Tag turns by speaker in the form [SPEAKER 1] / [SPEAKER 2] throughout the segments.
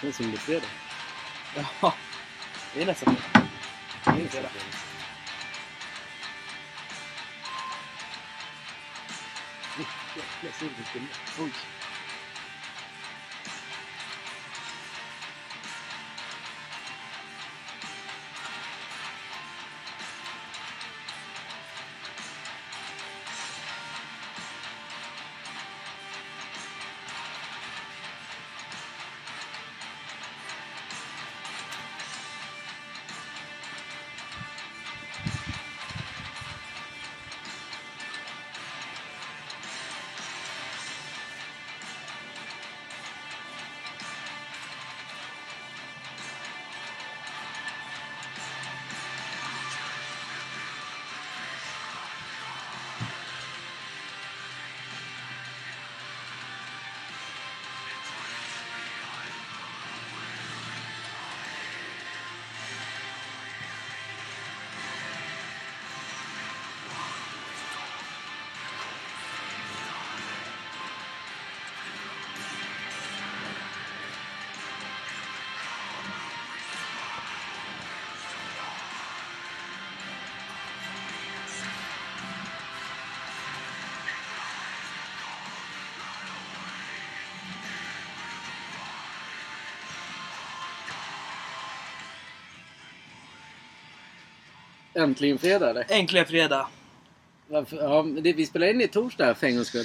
[SPEAKER 1] Det är som du ser det.
[SPEAKER 2] Ja,
[SPEAKER 1] Det är nästan
[SPEAKER 2] det är inte det.
[SPEAKER 1] Jäklar, ser du vilken
[SPEAKER 2] Oj.
[SPEAKER 1] Äntligen fredag eller?
[SPEAKER 2] Äntligen fredag.
[SPEAKER 1] Varför? Ja, men det, vi spelar in i torsdag här, för en gångs skull.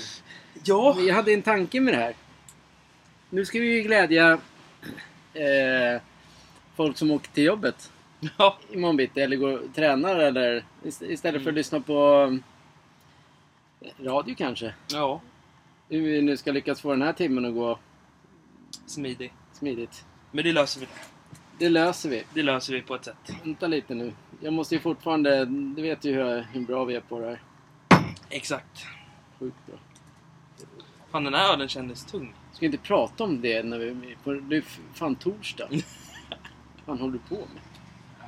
[SPEAKER 2] Ja,
[SPEAKER 1] Vi hade en tanke med det här. Nu ska vi ju glädja eh, folk som åker till jobbet
[SPEAKER 2] ja,
[SPEAKER 1] imorgon bitti eller går och tränar eller ist- istället
[SPEAKER 2] Mm.
[SPEAKER 1] för att lyssna på eh, radio kanske.
[SPEAKER 2] ja.
[SPEAKER 1] Hur vi nu ska lyckas få den här timmen att gå
[SPEAKER 2] smidig.
[SPEAKER 1] smidigt.
[SPEAKER 2] Men det löser vi.
[SPEAKER 1] Det löser vi.
[SPEAKER 2] Det löser vi på ett sätt.
[SPEAKER 1] Vänta lite nu. Jag måste ju fortfarande... Du vet ju hur, hur bra vi är på det här.
[SPEAKER 2] Exakt.
[SPEAKER 1] Sjukt bra.
[SPEAKER 2] Fan, den här ölen kändes tung.
[SPEAKER 1] Ska inte prata om det när vi... På, det är f- fan torsdag. Vad fan håller du på med?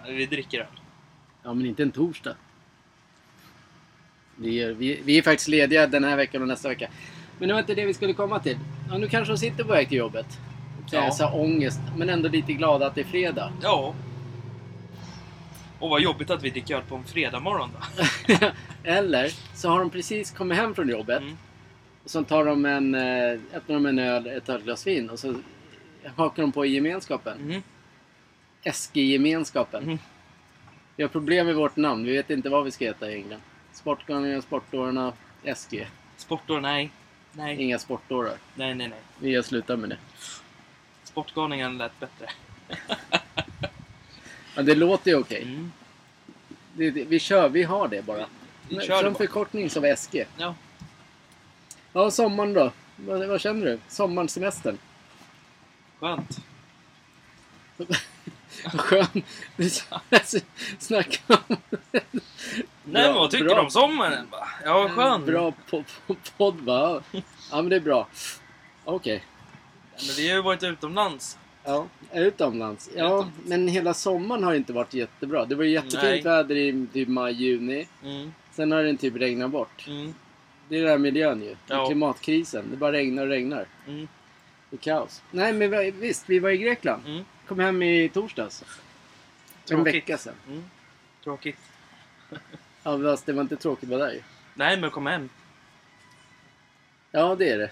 [SPEAKER 2] Ja, Vi dricker öl.
[SPEAKER 1] Ja, men inte en torsdag. Vi är, vi, vi är faktiskt lediga den här veckan och nästa vecka. Men det var inte det vi skulle komma till. Ja, nu kanske de sitter på väg till jobbet. Ja.
[SPEAKER 2] Ja.
[SPEAKER 1] Så här ångest, men ändå lite glada att det är fredag.
[SPEAKER 2] Ja. Och vad jobbigt att vi dricker öl på en fredag morgon då.
[SPEAKER 1] Eller så har de precis kommit hem från jobbet.
[SPEAKER 2] Mm.
[SPEAKER 1] Och så tar de en, eh, öppnar de en öl, ett ölglas vin och så hakar de på i gemenskapen.
[SPEAKER 2] Mm.
[SPEAKER 1] SG-gemenskapen.
[SPEAKER 2] Mhm.
[SPEAKER 1] Vi har problem med vårt namn. Vi vet inte vad vi ska heta i England. Sportgalningarna, Sportdårarna, SG.
[SPEAKER 2] Sportdår, nej. Nej,
[SPEAKER 1] Inga sportdårar.
[SPEAKER 2] nej, nej. nej.
[SPEAKER 1] Vi har slutat med det.
[SPEAKER 2] Sportgalningen lät bättre.
[SPEAKER 1] Men det låter ju okej.
[SPEAKER 2] Mm.
[SPEAKER 1] Det- det- Vi kör, vi har det bara.
[SPEAKER 2] Vi
[SPEAKER 1] Som
[SPEAKER 2] kör det bara.
[SPEAKER 1] förkortning som SG.
[SPEAKER 2] Ja.
[SPEAKER 1] Ja, sommaren då? Vad, vad känner du? Sommarsemestern?
[SPEAKER 2] Skönt.
[SPEAKER 1] Vad skön. Du snackar om...
[SPEAKER 2] Nej, men vad tycker
[SPEAKER 1] bra.
[SPEAKER 2] du om sommaren? bara? Ja, vad skön.
[SPEAKER 1] Bra po- po- podd va? Ja men det är bra. Okej.
[SPEAKER 2] Ja, Men vi har ju varit utomlands.
[SPEAKER 1] Ja, utomlands. Ja,
[SPEAKER 2] Utomlands.
[SPEAKER 1] men hela sommaren har inte varit jättebra. Det var ju jättefint
[SPEAKER 2] Nej.
[SPEAKER 1] väder i typ maj, juni.
[SPEAKER 2] Mm.
[SPEAKER 1] Sen har den typ regnat bort.
[SPEAKER 2] Mm.
[SPEAKER 1] Det är den här miljön ju.
[SPEAKER 2] Ja.
[SPEAKER 1] Klimatkrisen. Det bara regnar och regnar.
[SPEAKER 2] Mm.
[SPEAKER 1] Det är kaos. Nej, men vi- visst, vi var i Grekland.
[SPEAKER 2] Mm.
[SPEAKER 1] Kom hem i torsdags. En
[SPEAKER 2] Tråkigt.
[SPEAKER 1] vecka sedan.
[SPEAKER 2] Mm. Tråkigt.
[SPEAKER 1] Ja, fast det var inte tråkigt att vara där ju.
[SPEAKER 2] Nej, men kom hem.
[SPEAKER 1] Ja, det är det.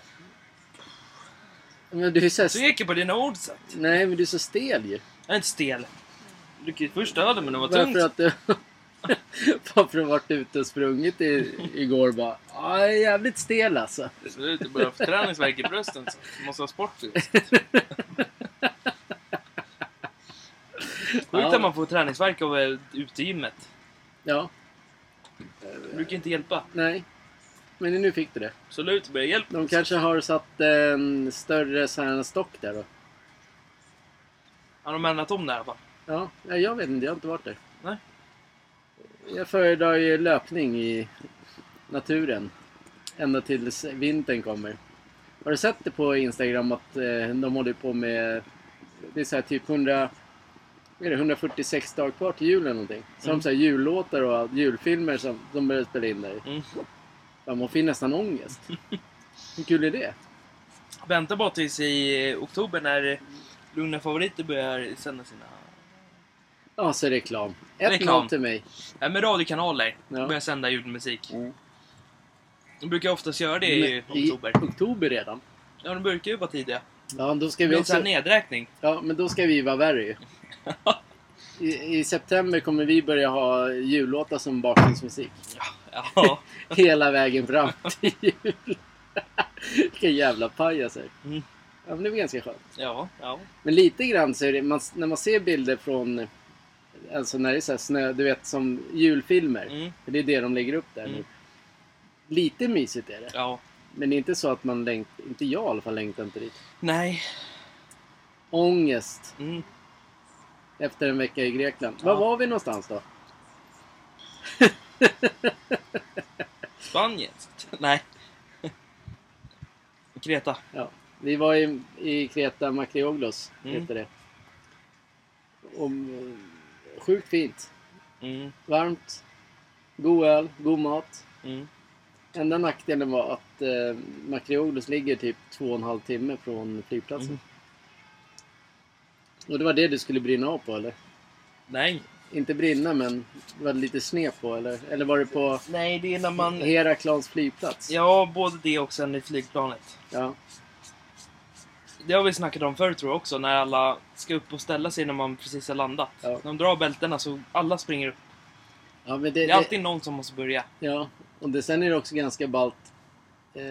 [SPEAKER 1] Men du är så här...
[SPEAKER 2] Så jag gick på dina ord så.
[SPEAKER 1] Nej, men du är så stel ju.
[SPEAKER 2] Jag är inte stel. Du druckit först ölen men det var tungt.
[SPEAKER 1] Varför att du... Bara för att ha varit ute och sprungit i, igår bara. Ja, jag är jävligt stel alltså.
[SPEAKER 2] Det ser ut att börja få träningsvärk i brösten. Så. Du måste ha sport i. Sjukt
[SPEAKER 1] Ja.
[SPEAKER 2] att man får träningsvärk av eh, utegymmet.
[SPEAKER 1] Ja,
[SPEAKER 2] Det brukar inte hjälpa.
[SPEAKER 1] nej. Men nu fick du det.
[SPEAKER 2] Absolut, börja hjälpa.
[SPEAKER 1] De kanske har satt en större sån här stock där då.
[SPEAKER 2] Har de ändrat om det i alla fall?
[SPEAKER 1] Ja, nej, jag vet inte. Jag har inte varit där.
[SPEAKER 2] Nej.
[SPEAKER 1] Jag föredrar ju löpning i naturen. Ända tills vintern kommer. Har du sett det på Instagram att eh, de håller på med... Det är så här typ 100... Är det 146 dagar kvar till jul eller någonting? Så har de
[SPEAKER 2] Mm.
[SPEAKER 1] så här jullåtar och julfilmer som de börjar spela in där.
[SPEAKER 2] Mm.
[SPEAKER 1] Ja, Man får ju nästan ångest. Hur kul är det?
[SPEAKER 2] Vänta bara tills i eh, oktober när Lugna favoriter börjar sända sina...
[SPEAKER 1] Ja, så reklam. 1-0
[SPEAKER 2] Reklam.
[SPEAKER 1] till mig.
[SPEAKER 2] Nej, men radiokanaler
[SPEAKER 1] Ja.
[SPEAKER 2] börjar sända ljudmusik.
[SPEAKER 1] Mm.
[SPEAKER 2] De brukar oftast göra det i
[SPEAKER 1] Men i
[SPEAKER 2] oktober.
[SPEAKER 1] oktober redan.
[SPEAKER 2] Ja, de brukar ju vara tidiga.
[SPEAKER 1] Ja, då ska
[SPEAKER 2] Det
[SPEAKER 1] vi
[SPEAKER 2] blir en sån här
[SPEAKER 1] också...
[SPEAKER 2] nedräkning.
[SPEAKER 1] Ja, men då ska vi vara värre ju. I, I september kommer vi börja ha jullåtar som bakgrundsmusik.
[SPEAKER 2] Ja.
[SPEAKER 1] Hela vägen fram till jul. Vilka jävla pajaser.
[SPEAKER 2] Mm.
[SPEAKER 1] Ja, men det var ganska skönt.
[SPEAKER 2] Ja, ja.
[SPEAKER 1] Men lite grann så är det, man, när man ser bilder från, alltså när det är så här snö, du vet som julfilmer.
[SPEAKER 2] Mm,
[SPEAKER 1] För det är det de lägger upp där nu.
[SPEAKER 2] Mm.
[SPEAKER 1] Lite mysigt är det.
[SPEAKER 2] ja.
[SPEAKER 1] Men det är inte så att man längt, inte jag i alla fall längtar inte dit.
[SPEAKER 2] Nej.
[SPEAKER 1] Ångest
[SPEAKER 2] Mm.
[SPEAKER 1] efter en vecka i Grekland.
[SPEAKER 2] Ja.
[SPEAKER 1] Var var vi någonstans då?
[SPEAKER 2] Spanien? Nej. Kreta.
[SPEAKER 1] Ja, vi var i, i Kreta Makrioglos,
[SPEAKER 2] Mm.
[SPEAKER 1] heter det. Och, eh, sjukt fint.
[SPEAKER 2] Mm,
[SPEAKER 1] Varmt. God öl, god mat.
[SPEAKER 2] mm.
[SPEAKER 1] Enda nackdelen var att eh, Makrioglos ligger typ två och en halv timme från flygplatsen.
[SPEAKER 2] Mm.
[SPEAKER 1] Och det var det du skulle brinna av på eller?
[SPEAKER 2] Nej.
[SPEAKER 1] Inte brinna men det var lite sne på eller? Eller var det på
[SPEAKER 2] Nej, det är när man...
[SPEAKER 1] Heraklons flygplats?
[SPEAKER 2] Ja, både det och sen i flygplanet.
[SPEAKER 1] Ja.
[SPEAKER 2] Det har vi snackat om förr tror jag också, när alla ska upp och ställa sig när man precis har landat.
[SPEAKER 1] Ja.
[SPEAKER 2] När de drar bältena så alla springer upp.
[SPEAKER 1] Ja, men
[SPEAKER 2] Det
[SPEAKER 1] det,
[SPEAKER 2] är alltid någon som måste börja.
[SPEAKER 1] ja. Och det, sen är det också ganska ballt. Eh,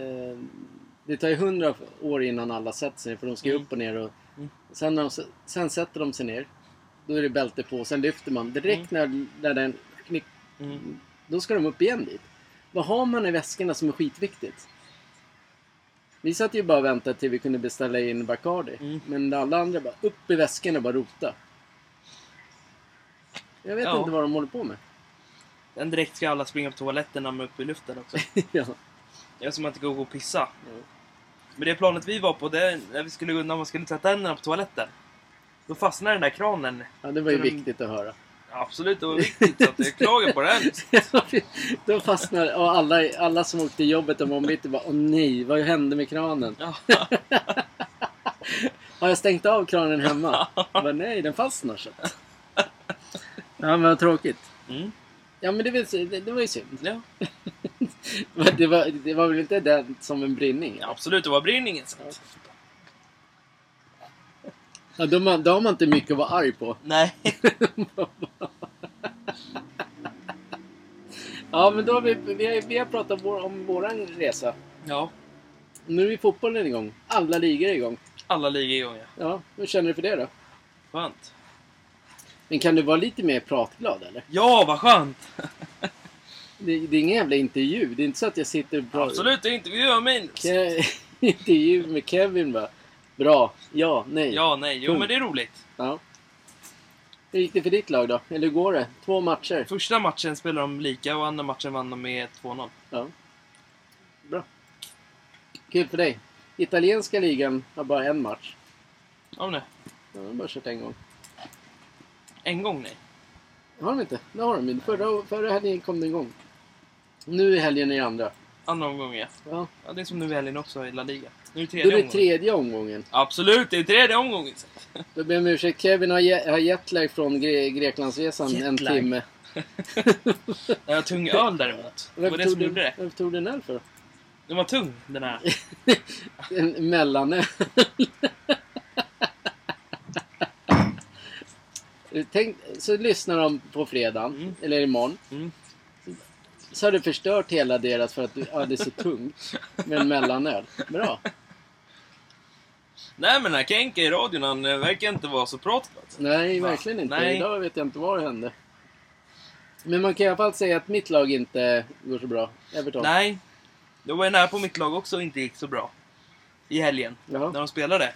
[SPEAKER 1] det tar ju hundra år innan alla sätter sig ner för de ska ju
[SPEAKER 2] Mm.
[SPEAKER 1] upp och ner och
[SPEAKER 2] Mm.
[SPEAKER 1] sen, när de, s- sen sätter de sig ner. Då är det bälte på och sen lyfter man. Direkt när, när den knick,
[SPEAKER 2] Mm.
[SPEAKER 1] Då ska de upp igen dit. Vad har man i väskorna som är skitviktigt? Vi satt ju bara och väntade till vi kunde beställa in Bacardi.
[SPEAKER 2] Mm.
[SPEAKER 1] Men alla andra bara, upp i väskorna och bara rota. Jag vet
[SPEAKER 2] Ja.
[SPEAKER 1] inte vad de håller på med.
[SPEAKER 2] Sen direkt ska alla springa på toaletten när de är uppe i luften också.
[SPEAKER 1] ja.
[SPEAKER 2] Det är som att det går och pissa.
[SPEAKER 1] Mm.
[SPEAKER 2] Men det planet vi var på, det, när, vi skulle, när man skulle tvätta händerna på toaletten. Då fastnade den där kranen.
[SPEAKER 1] ja, det var ju
[SPEAKER 2] Så de-
[SPEAKER 1] viktigt att höra.
[SPEAKER 2] Absolut, det var viktigt. Så att jag klagar på det här.
[SPEAKER 1] Då fastnade, och alla, alla som åkte till jobbet om och bitti bara, åh nej, vad hände med kranen?
[SPEAKER 2] Ja.
[SPEAKER 1] Har jag stängt av kranen hemma? Jag bara, nej, den fastnar så. Ja, men vad tråkigt.
[SPEAKER 2] Mm.
[SPEAKER 1] Ja, men det, vill säga, det, det var ju synd.
[SPEAKER 2] Ja.
[SPEAKER 1] Men det, var, det var väl inte den som en brinning?
[SPEAKER 2] Ja, absolut, det var brinningen. Så. att-
[SPEAKER 1] Ja, då, man, då har man inte mycket att vara arg på.
[SPEAKER 2] Nej.
[SPEAKER 1] Ja, men då har vi, vi, har, vi har pratat vår, om våran resa.
[SPEAKER 2] Ja,
[SPEAKER 1] Nu är fotbollen igång. Alla ligor är igång.
[SPEAKER 2] alla ligger igång ja.
[SPEAKER 1] Ja, hur känner du för det då?
[SPEAKER 2] Skönt.
[SPEAKER 1] Men kan du vara lite mer pratglad eller?
[SPEAKER 2] Ja, vad skönt!
[SPEAKER 1] Det, det är ingen jävla intervju. Det är inte så att jag sitter och pratar.
[SPEAKER 2] Absolut, jag intervjuar mig.
[SPEAKER 1] Ke- intervju med Kevin bara. Bra. Ja. Nej.
[SPEAKER 2] Ja, nej, jo
[SPEAKER 1] Punkt.
[SPEAKER 2] men det är roligt.
[SPEAKER 1] Ja. Hur gick det för ditt lag då? Eller hur går det? Två matcher.
[SPEAKER 2] Första matchen spelade de lika och andra matchen vann de med 2-0.
[SPEAKER 1] Ja. Bra. Kul för dig. Italienska ligan har bara en match.
[SPEAKER 2] Har de det?
[SPEAKER 1] Ja, de har bara kört en gång.
[SPEAKER 2] En gång nej.
[SPEAKER 1] Har de inte? Det har de ju. Förra, förra helgen kom den igång. Nu är helgen i andra.
[SPEAKER 2] Andra omgången ja.
[SPEAKER 1] Ja.
[SPEAKER 2] ja. Det är som nu i helgen också i La Liga. Nu är det
[SPEAKER 1] Då
[SPEAKER 2] tredje
[SPEAKER 1] är det
[SPEAKER 2] omgången.
[SPEAKER 1] tredje omgången.
[SPEAKER 2] Absolut, det är tredje omgången.
[SPEAKER 1] Då ber jag om ursäkt. Kevin har, je- har jetlag från Gre Greklandsresan en
[SPEAKER 2] Jetlag.
[SPEAKER 1] timme.
[SPEAKER 2] Jag har tung öl däremot. Det var det som
[SPEAKER 1] tog,
[SPEAKER 2] gjorde
[SPEAKER 1] du,
[SPEAKER 2] det.
[SPEAKER 1] varför tog du den här för?
[SPEAKER 2] Den var tung, den här.
[SPEAKER 1] En mellanöl. Tänk, så lyssnar de på fredagen,
[SPEAKER 2] Mm.
[SPEAKER 1] eller imorgon.
[SPEAKER 2] Mm.
[SPEAKER 1] Så har du förstört hela deras för att du, ja, det är så tungt med en mellanöl. Bra.
[SPEAKER 2] Nej men den här Kenke i radion, han eh, verkar inte vara så pratglad.
[SPEAKER 1] Nej,
[SPEAKER 2] Va?
[SPEAKER 1] verkligen inte.
[SPEAKER 2] Nej.
[SPEAKER 1] Idag vet jag inte vad det hände. Men man kan i alla fall säga att mitt lag inte går så bra. Everton.
[SPEAKER 2] Nej. Det var ju nära på mitt lag också och inte gick så bra. I helgen,
[SPEAKER 1] Jaha.
[SPEAKER 2] när de spelade.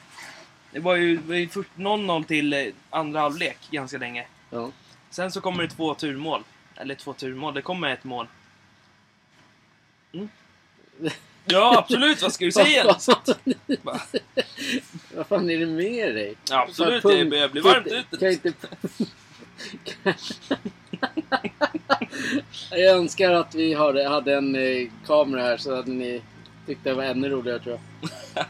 [SPEAKER 2] Det var ju, det var ju först 0-0 till eh, andra halvlek ganska länge.
[SPEAKER 1] Ja.
[SPEAKER 2] Sen så kommer det två turmål. Eller två turmål, det kommer ett mål. Mm. Ja, absolut, vad ska du säga? Va?
[SPEAKER 1] Vad fan är det med dig?
[SPEAKER 2] Ja, absolut,
[SPEAKER 1] Fan,
[SPEAKER 2] det
[SPEAKER 1] pung-
[SPEAKER 2] börjar bli
[SPEAKER 1] kan
[SPEAKER 2] varmt
[SPEAKER 1] inte-
[SPEAKER 2] ute.
[SPEAKER 1] Kan inte... jag önskar att vi hade, hade en eh, kamera här så hade ni tyckt det var ännu roligare tror jag.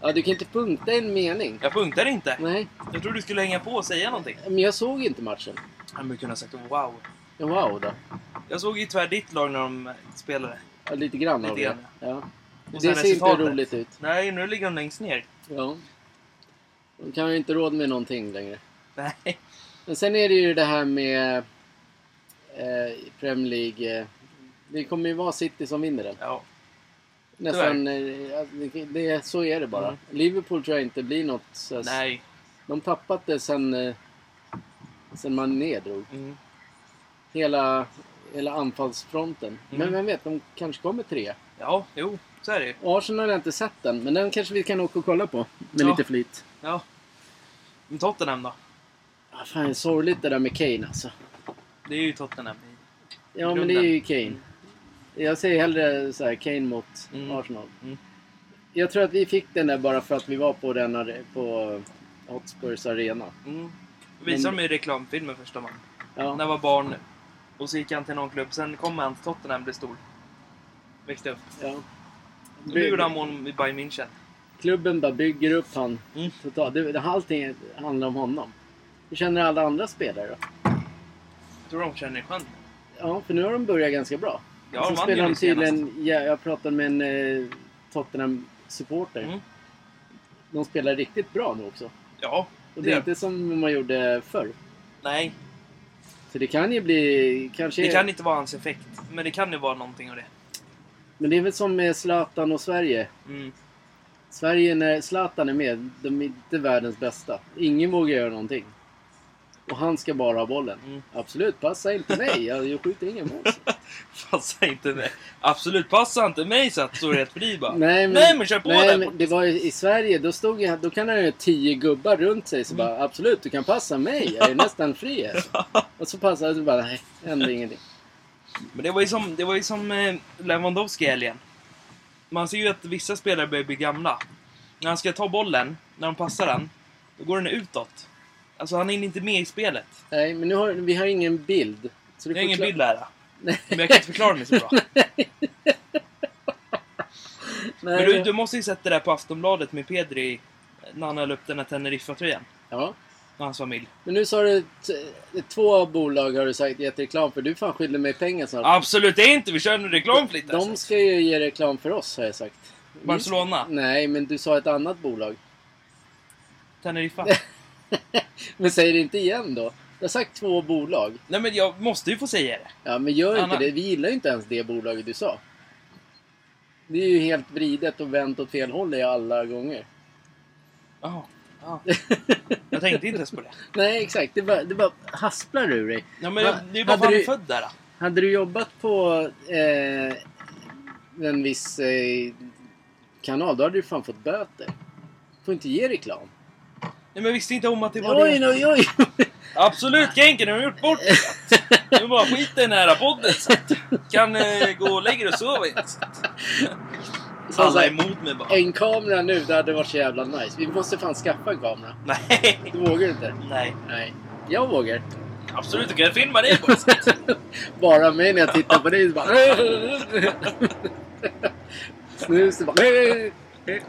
[SPEAKER 1] Ja, du kan inte punkta en mening.
[SPEAKER 2] Jag punktar inte.
[SPEAKER 1] Nej,
[SPEAKER 2] Jag tror du skulle hänga på och säga någonting.
[SPEAKER 1] men jag såg inte matchen.
[SPEAKER 2] Jag hade kunnat sagt wow.
[SPEAKER 1] Ja, Wow då.
[SPEAKER 2] Jag såg ju tyvärr ditt lag när de spelade.
[SPEAKER 1] Ja, lite grann
[SPEAKER 2] Lite
[SPEAKER 1] av det.
[SPEAKER 2] grann.
[SPEAKER 1] Ja.
[SPEAKER 2] Och
[SPEAKER 1] Det
[SPEAKER 2] sen
[SPEAKER 1] ser inte
[SPEAKER 2] resultatet.
[SPEAKER 1] roligt ut.
[SPEAKER 2] Nej, nu ligger de längst ner.
[SPEAKER 1] Ja. De kan ju inte råd med någonting längre.
[SPEAKER 2] Nej.
[SPEAKER 1] Men sen är det ju det här med eh, Premier League. eh, Det kommer ju vara City som vinner den.
[SPEAKER 2] Ja.
[SPEAKER 1] Nästan, eh, alltså, det, det, så är det bara.
[SPEAKER 2] Mm.
[SPEAKER 1] Liverpool tror jag inte blir något. Så,
[SPEAKER 2] Nej.
[SPEAKER 1] De tappade sen, eh, sen man nedrog.
[SPEAKER 2] Mm.
[SPEAKER 1] Hela, hela anfallsfronten.
[SPEAKER 2] Mm.
[SPEAKER 1] Men vem vet, de kanske kommer tre.
[SPEAKER 2] Ja, jo. Så är det ju.
[SPEAKER 1] Arsenal har jag inte sett den, men den kanske vi kan åka och kolla på. Med
[SPEAKER 2] Ja.
[SPEAKER 1] lite flit.
[SPEAKER 2] Ja. Men Tottenham då?
[SPEAKER 1] Ah, fan, det är sorgligt det där med Kane alltså.
[SPEAKER 2] Det är ju Tottenham.
[SPEAKER 1] Ja, men
[SPEAKER 2] Grunden.
[SPEAKER 1] det är ju Kane. Jag säger hellre så här, Kane mot
[SPEAKER 2] Mm.
[SPEAKER 1] Arsenal.
[SPEAKER 2] Mm.
[SPEAKER 1] Jag tror att vi fick den där bara för att vi var på, den are- på Hotspurs arena.
[SPEAKER 2] Mm. Visar
[SPEAKER 1] Men-
[SPEAKER 2] dem i reklamfilmen första man. När
[SPEAKER 1] Ja,
[SPEAKER 2] han var barn. Och så gick han till någon klubb. Sen kom han till Tottenham blev stor. Växte upp.
[SPEAKER 1] ja.
[SPEAKER 2] Nu gjorde han mål i Bayern München.
[SPEAKER 1] Klubben bara bygger upp han.
[SPEAKER 2] Mm.
[SPEAKER 1] Totalt. Det, det- allting handlar om honom. Hur känner alla andra spelare då?
[SPEAKER 2] Jag tror de känner sjön.
[SPEAKER 1] Ja, för nu har de börjat ganska bra.
[SPEAKER 2] Ja, de
[SPEAKER 1] Sen
[SPEAKER 2] vann ju
[SPEAKER 1] spelar de
[SPEAKER 2] nu senast.
[SPEAKER 1] tydligen... Ja, jag pratade med en eh, Tottenham-supporter.
[SPEAKER 2] Mm.
[SPEAKER 1] De spelar riktigt bra nu också.
[SPEAKER 2] Ja,
[SPEAKER 1] Och
[SPEAKER 2] det
[SPEAKER 1] det är
[SPEAKER 2] gör de.
[SPEAKER 1] inte som man gjorde förr.
[SPEAKER 2] Nej,
[SPEAKER 1] Så det kan ju bli... Kanske...
[SPEAKER 2] det kan inte vara hans effekt. Men det kan ju vara någonting av det.
[SPEAKER 1] Men det är väl som med Zlatan och Sverige.
[SPEAKER 2] Mm.
[SPEAKER 1] Sverige, när Zlatan är med, de är inte världens bästa. Ingen vågar göra någonting. Och han ska bara ha bollen.
[SPEAKER 2] Mm.
[SPEAKER 1] Absolut, passa inte mig. Jag jag skjuter inga mål.
[SPEAKER 2] Passa inte mig. Absolut, passa inte mig så att det står rätt för dig bara.
[SPEAKER 1] Nej, men-
[SPEAKER 2] Nej, men kör på
[SPEAKER 1] Nej,
[SPEAKER 2] den!
[SPEAKER 1] men det var ju i Sverige, då, stod jag, då kan han ju ha tio gubbar runt sig.
[SPEAKER 2] Mm.
[SPEAKER 1] Så bara, absolut, du kan passa mig. Jag är nästan fri. här." och så passade jag, så bara, nej, hände ingenting.
[SPEAKER 2] Men det var ju som, det var ju som eh, Lewandowski i helgen. Man ser ju att vissa spelare börjar bli gamla. När han ska ta bollen, när de passar den, då går den utåt. Alltså han hinner inte med i spelet.
[SPEAKER 1] Nej, men nu har, vi har ingen bild. Så
[SPEAKER 2] Jag
[SPEAKER 1] du
[SPEAKER 2] har
[SPEAKER 1] får
[SPEAKER 2] ingen
[SPEAKER 1] kla-
[SPEAKER 2] bild där.
[SPEAKER 1] Nej.
[SPEAKER 2] Men jag kan inte förklara mig så bra.
[SPEAKER 1] Nej,
[SPEAKER 2] Men du, du måste ju sett det där på Aftonbladet med Pedri när han höll upp den här Teneriffa-tröjan.
[SPEAKER 1] Ja.
[SPEAKER 2] Med hans familj.
[SPEAKER 1] Men nu sa du t- två bolag har du sagt gett reklam för. Du fan skyller mig pengar snart.
[SPEAKER 2] Absolut inte! Vi kör en reklamflitt
[SPEAKER 1] De
[SPEAKER 2] alltså.
[SPEAKER 1] ska ju ge reklam för oss har jag sagt.
[SPEAKER 2] Barcelona.
[SPEAKER 1] Nej, men du sa ett annat bolag.
[SPEAKER 2] Teneriffa.
[SPEAKER 1] Men säg det inte igen då. Jag har sagt två bolag.
[SPEAKER 2] Nej men jag måste ju få säga det.
[SPEAKER 1] Ja, men gör inte
[SPEAKER 2] Anna.
[SPEAKER 1] det. Vi gillar ju inte ens det bolaget du sa. Det är ju helt vridet och vänt åt fel håll i alla gånger.
[SPEAKER 2] Jaha. Ja. Jag tänkte inte ens på det.
[SPEAKER 1] Nej, exakt. Det bara, det bara hasplar ur dig.
[SPEAKER 2] Ja, men
[SPEAKER 1] Va-
[SPEAKER 2] jag, det är ju bara
[SPEAKER 1] hade
[SPEAKER 2] för
[SPEAKER 1] du-
[SPEAKER 2] att han är född där. Då.
[SPEAKER 1] Hade du jobbat på eh, en viss eh, kanal, då hade du fan fått böter. Får inte ge reklam.
[SPEAKER 2] Nej, men jag visste inte om att det var det.
[SPEAKER 1] Oj, oj, oj!
[SPEAKER 2] Absolut, Genken, har gjort bort det. Du bara skit i den här podden. så att Kan eh, gå och lägga dig och sova inte. så att- Alla är emot mig bara.
[SPEAKER 1] Alltså, En kamera nu, det hade varit så jävla nice. Vi måste fan skaffa en kamera.
[SPEAKER 2] Nej,
[SPEAKER 1] Du vågar inte?
[SPEAKER 2] nej.
[SPEAKER 1] Nej. Jag vågar.
[SPEAKER 2] Absolut, du kan filma dig bara. så att-
[SPEAKER 1] Bara mig när jag tittar på dig så bara... Snus det bara...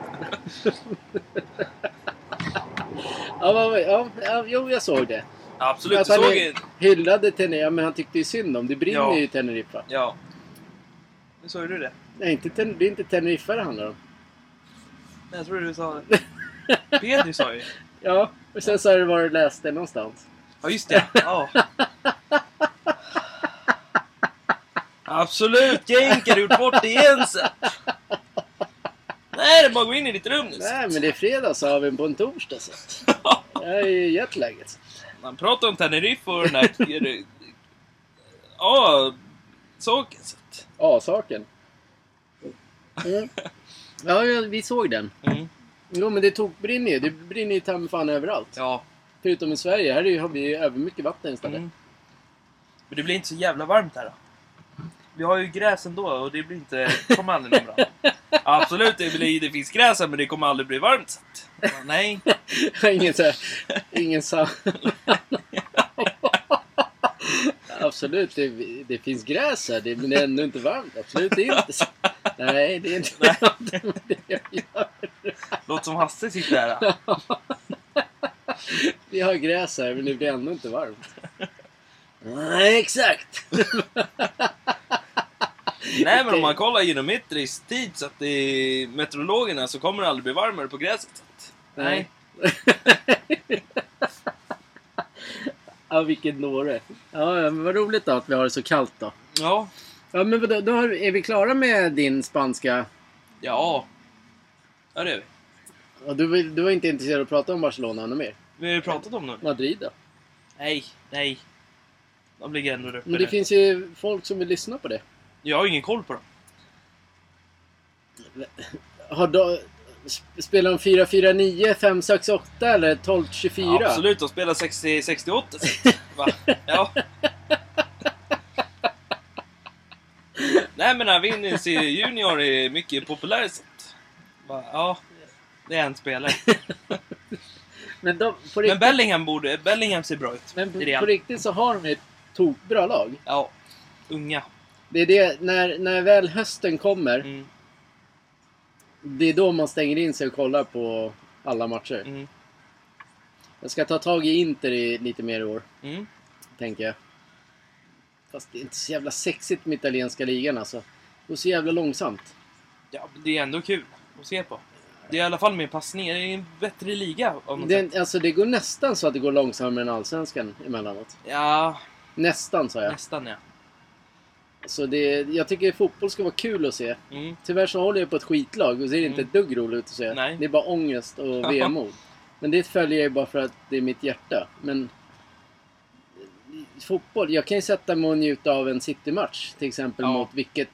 [SPEAKER 1] Ja, vad- ja, ja, jo, jag såg det.
[SPEAKER 2] Absolut,
[SPEAKER 1] Att
[SPEAKER 2] du
[SPEAKER 1] han
[SPEAKER 2] såg
[SPEAKER 1] är-
[SPEAKER 2] ju...
[SPEAKER 1] Hyllade Teneriffa, men han tyckte ju synd om. Det brinner
[SPEAKER 2] Ja.
[SPEAKER 1] ju i Teneriffa.
[SPEAKER 2] Ja. Nu såg du det.
[SPEAKER 1] Nej, inte ten, det är inte Teneriffa det handlar om.
[SPEAKER 2] Nej, jag tror du sa det. Pedri sa ju.
[SPEAKER 1] Ja, och sen så har det varit läst det någonstans.
[SPEAKER 2] Ja, just det. Ja. Absolut, Genk har gjort bort det igen så. Nej, det är bara att gå in i ditt rum nu.
[SPEAKER 1] Nej, men det är fredag så har vi en på en torsdag så. Jag är ju jetlagged.
[SPEAKER 2] Man pratar om Teneriffa och den där... Ja, saken så. att-
[SPEAKER 1] A-saken. Mm. Ja, ja, vi såg den.
[SPEAKER 2] Mm.
[SPEAKER 1] Jo, men det tokbrinner ju. Det brinner ju ta mig fan överallt.
[SPEAKER 2] Ja.
[SPEAKER 1] Förutom i Sverige. Här är ju- har vi ju övermycket vatten istället.
[SPEAKER 2] Mm. Men det blir inte så jävla varmt här då. Vi har ju gräs ändå och det blir inte... Det kommer aldrig bli bra. Absolut, det, blir, det finns gräs här men det kommer aldrig bli varmt. Så. att- Nej.
[SPEAKER 1] ingen så här, ingen sa... Absolut, det, det finns gräs här, det, men det är ännu inte varmt. Absolut inte. Nej, det är inte varmt.
[SPEAKER 2] Låt grät som Hasse sitter här.
[SPEAKER 1] Vi har gräs här men det blir ändå inte varmt. Nej, exakt!
[SPEAKER 2] Nej men om man kollar geometrisk tid så att det är meteorologerna så kommer det aldrig bli varmare på gräset.
[SPEAKER 1] Nej. ja, vilken dåre. Ja, ja, men vad roligt då att vi har det så kallt då.
[SPEAKER 2] Ja.
[SPEAKER 1] Ja, men vadå, då har- är vi klara med din spanska?
[SPEAKER 2] Ja. Ja det är vi.
[SPEAKER 1] Ja, du, vill- du var inte intresserad av att prata om Barcelona ännu mer?
[SPEAKER 2] Vi har ju pratat om nu.
[SPEAKER 1] Madrid då?
[SPEAKER 2] Nej, nej. De ligger ändå där uppe
[SPEAKER 1] Men det
[SPEAKER 2] nu.
[SPEAKER 1] finns ju folk som vill lyssna på det.
[SPEAKER 2] Jag har ju ingen koll på dem.
[SPEAKER 1] Har då, sp- spelar de 4-4-9, 5-6-8 eller 12-24?
[SPEAKER 2] Ja, absolut, de spelar 60, 68 Va? Ja. Nej men Arvinis Junior är mycket populär sätt. Va? Ja, det är en spelare.
[SPEAKER 1] Men, de, på,
[SPEAKER 2] Men
[SPEAKER 1] riktigt,
[SPEAKER 2] Bellingham, borde, Bellingham ser bra ut.
[SPEAKER 1] men,
[SPEAKER 2] i
[SPEAKER 1] på,
[SPEAKER 2] Real.
[SPEAKER 1] på riktigt så har de ett tokbra lag.
[SPEAKER 2] Ja, unga.
[SPEAKER 1] Det är det, när, när väl hösten kommer,
[SPEAKER 2] Mm,
[SPEAKER 1] det är då man stänger in sig och kollar på alla matcher.
[SPEAKER 2] mm,
[SPEAKER 1] Jag ska ta tag i Inter i, lite mer i år,
[SPEAKER 2] mm.
[SPEAKER 1] tänker jag. Fast det är inte så jävla sexigt med italienska ligan alltså. Det går så jävla långsamt.
[SPEAKER 2] Ja, men det är ändå kul att se på. Det är i alla fall mer passningar. Det är en bättre liga av något sätt.
[SPEAKER 1] Det, alltså, det går nästan så att det går långsammare än allsvenskan emellanåt.
[SPEAKER 2] Ja,
[SPEAKER 1] Nästan, sa jag.
[SPEAKER 2] nästan ja.
[SPEAKER 1] Så det, jag tycker fotboll ska vara kul att se.
[SPEAKER 2] Mm.
[SPEAKER 1] Tyvärr så håller jag på ett skitlag och ser inte
[SPEAKER 2] Mm.
[SPEAKER 1] ett dugg roligt ut att se.
[SPEAKER 2] Nej.
[SPEAKER 1] Det är bara ångest och vemod. Men det följer jag ju bara för att det är mitt hjärta. Men fotboll, jag kan ju sätta mig och njuta av en City-match till exempel
[SPEAKER 2] Ja.
[SPEAKER 1] mot vilket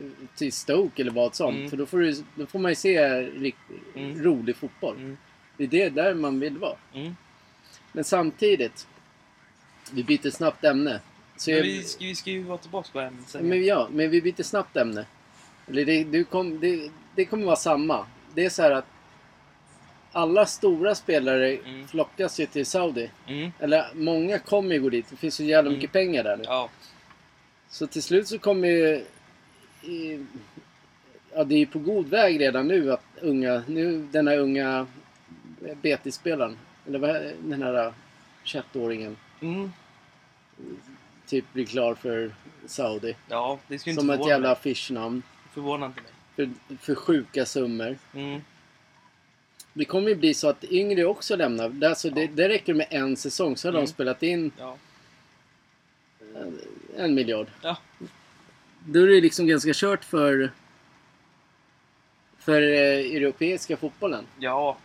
[SPEAKER 1] eh, till Stoke eller vad som.
[SPEAKER 2] Mm.
[SPEAKER 1] För då får, du, då får man ju se rikt,
[SPEAKER 2] Mm.
[SPEAKER 1] rolig fotboll.
[SPEAKER 2] Mm,
[SPEAKER 1] Det är det där man vill vara.
[SPEAKER 2] mm.
[SPEAKER 1] Men samtidigt, vi byter snabbt ämne. Så
[SPEAKER 2] Men
[SPEAKER 1] jag-
[SPEAKER 2] vi, ska, vi ska ju vara tillbaka på ämnet sen.
[SPEAKER 1] Men, ja, men vi byter snabbt ämne. Eller det, du kom, det, det kommer vara samma. Det är så här att alla stora spelare
[SPEAKER 2] Mm.
[SPEAKER 1] flockas ju till Saudi.
[SPEAKER 2] Mm.
[SPEAKER 1] Eller många kommer ju gå dit. Det finns ju jävla
[SPEAKER 2] Mm.
[SPEAKER 1] mycket pengar där nu.
[SPEAKER 2] Ja.
[SPEAKER 1] Så till slut så kommer ju... i- Ja, det är ju på god väg redan nu att unga... Nu den här unga Betis-spelaren. Eller vad, den här 21-åringen.
[SPEAKER 2] Mm.
[SPEAKER 1] Typ blir klar för Saudi.
[SPEAKER 2] Ja, det skulle inte
[SPEAKER 1] Som ett
[SPEAKER 2] förvåna
[SPEAKER 1] jävla
[SPEAKER 2] mig.
[SPEAKER 1] affischnamn.
[SPEAKER 2] Förvånar inte mig.
[SPEAKER 1] För, för sjuka summor.
[SPEAKER 2] Mm.
[SPEAKER 1] Det kommer ju bli så att yngre också lämnar. Det, alltså, det,
[SPEAKER 2] Ja.
[SPEAKER 1] det räcker med en säsong så har de
[SPEAKER 2] Mm.
[SPEAKER 1] spelat in
[SPEAKER 2] Ja.
[SPEAKER 1] en miljard.
[SPEAKER 2] Ja.
[SPEAKER 1] Då är det liksom ganska kört för för eh, europeiska fotbollen.
[SPEAKER 2] Ja.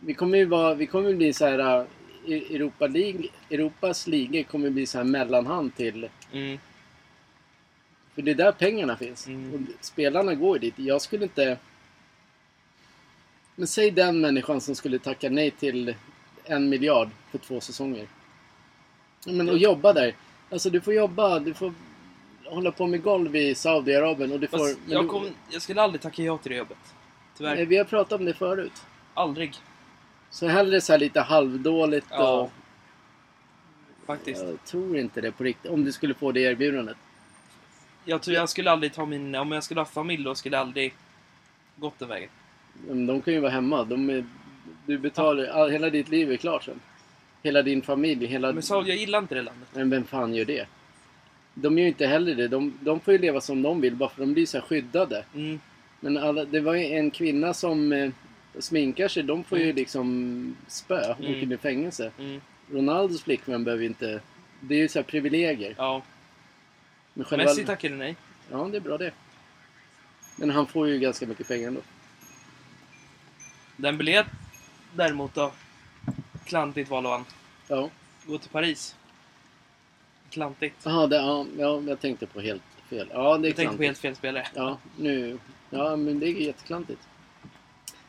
[SPEAKER 1] Vi kommer ju vara, vi kommer ju bli så här eh, E- Europa League, Europas ligor kommer bli så här mellanhand till
[SPEAKER 2] Mm.
[SPEAKER 1] för det är där pengarna finns.
[SPEAKER 2] Mm.
[SPEAKER 1] Och spelarna går ju dit. Jag skulle inte men säg den människan som skulle tacka nej till en miljard för två säsonger. Ja, Men och jobba där. Alltså du får jobba, du får hålla på med golv i Saudiarabien och du får...
[SPEAKER 2] Fast
[SPEAKER 1] men du-
[SPEAKER 2] jag, kom, jag skulle aldrig tacka ja till det jobbet. Tyvärr.
[SPEAKER 1] Nej, vi har pratat om det förut.
[SPEAKER 2] Aldrig.
[SPEAKER 1] Så hellre så här lite halvdåligt
[SPEAKER 2] Ja,
[SPEAKER 1] och...
[SPEAKER 2] Faktiskt.
[SPEAKER 1] Jag tror inte det på riktigt. Om du skulle få det erbjudandet.
[SPEAKER 2] Jag tror jag skulle aldrig ta min... Om jag skulle ha familj då skulle jag aldrig gått den vägen.
[SPEAKER 1] Men De kan ju vara hemma. De är... Du betalar... All, hela ditt liv är klart sen. Hela din familj, hela...
[SPEAKER 2] Men Saudi, jag gillar inte det landet.
[SPEAKER 1] Men vem fan gör det? De gör ju inte heller det. De, de får ju leva som de vill bara för de blir så här skyddade.
[SPEAKER 2] Mm.
[SPEAKER 1] Men alla, det var ju en kvinna som eh, sminkar sig. De får ju
[SPEAKER 2] Mm.
[SPEAKER 1] liksom spö och åker
[SPEAKER 2] Mm.
[SPEAKER 1] i fängelse.
[SPEAKER 2] Mm.
[SPEAKER 1] Ronaldos flickvän behöver ju inte... Det är ju så här privilegier.
[SPEAKER 2] Ja.
[SPEAKER 1] Men själva-
[SPEAKER 2] Messi tackade nej.
[SPEAKER 1] Ja, det är bra det. Men han får ju ganska mycket pengar ändå.
[SPEAKER 2] Den biljett däremot då. Klantigt val av han.
[SPEAKER 1] Ja.
[SPEAKER 2] Gå till Paris. Klantigt.
[SPEAKER 1] Aha, det, ja, ja, jag tänkte på helt fel. Ja, det är
[SPEAKER 2] Jag tänkte på
[SPEAKER 1] klantigt.
[SPEAKER 2] helt fel spelare.
[SPEAKER 1] Ja, nu... Ja, men det är jätteklantigt.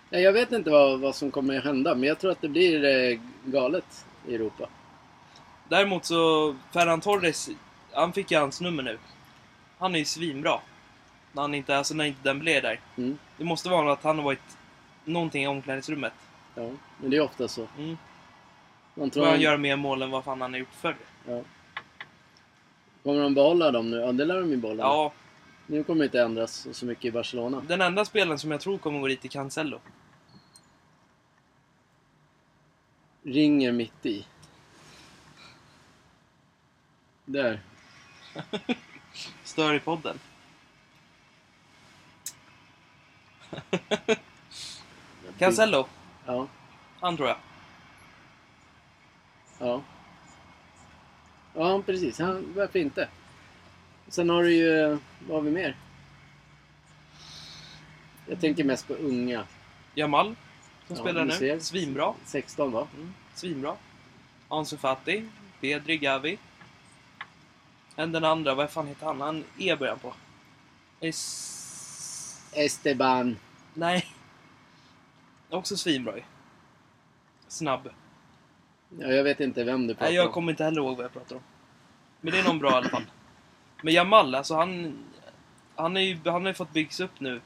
[SPEAKER 1] Nej, jag vet inte vad, vad som kommer att hända, men jag tror att det blir eh, galet i Europa.
[SPEAKER 2] Däremot så, Ferran Torres, han fick ju hans nummer nu. Han är ju svinbra. När han inte, alltså när inte den blev där.
[SPEAKER 1] Mm.
[SPEAKER 2] Det måste vara att han har varit någonting i omklädningsrummet.
[SPEAKER 1] Ja, men det är ofta så.
[SPEAKER 2] Mm.
[SPEAKER 1] Man
[SPEAKER 2] Tror
[SPEAKER 1] tror
[SPEAKER 2] han
[SPEAKER 1] de,
[SPEAKER 2] gör mer mål än vad fan han har gjort förr.
[SPEAKER 1] ja. Kommer de behålla dem nu? Ja, det lär de ju behålla.
[SPEAKER 2] Ja,
[SPEAKER 1] Nu kommer det inte ändras så mycket i Barcelona.
[SPEAKER 2] den enda spelaren som jag tror kommer gå dit är Cancelo.
[SPEAKER 1] ringer mitt i. Där.
[SPEAKER 2] Stör i podden. Cancello,
[SPEAKER 1] Ja,
[SPEAKER 2] han tror jag.
[SPEAKER 1] ja. Ja, precis. Ja, varför inte? Sen har du ju... Vad har vi mer? Jag tänker mest på unga.
[SPEAKER 2] Jamal,
[SPEAKER 1] Ja,
[SPEAKER 2] som spelar
[SPEAKER 1] du
[SPEAKER 2] nu.
[SPEAKER 1] ser.
[SPEAKER 2] Svinbra.
[SPEAKER 1] 16 va?
[SPEAKER 2] Mm, svinbra. Ansu Fati, Pedri, Gavi. Än den andra, vad fan heter han? Han E början på. Es...
[SPEAKER 1] Esteban.
[SPEAKER 2] Nej. Också svinbra ju. Snabb.
[SPEAKER 1] Ja, jag vet inte vem du pratar
[SPEAKER 2] Nej, jag
[SPEAKER 1] om.
[SPEAKER 2] kommer inte heller ihåg vad jag pratar om. Men det är någon bra i alla fall. Men Jamal, alltså han... Han, är ju, han har ju fått byggs upp nu.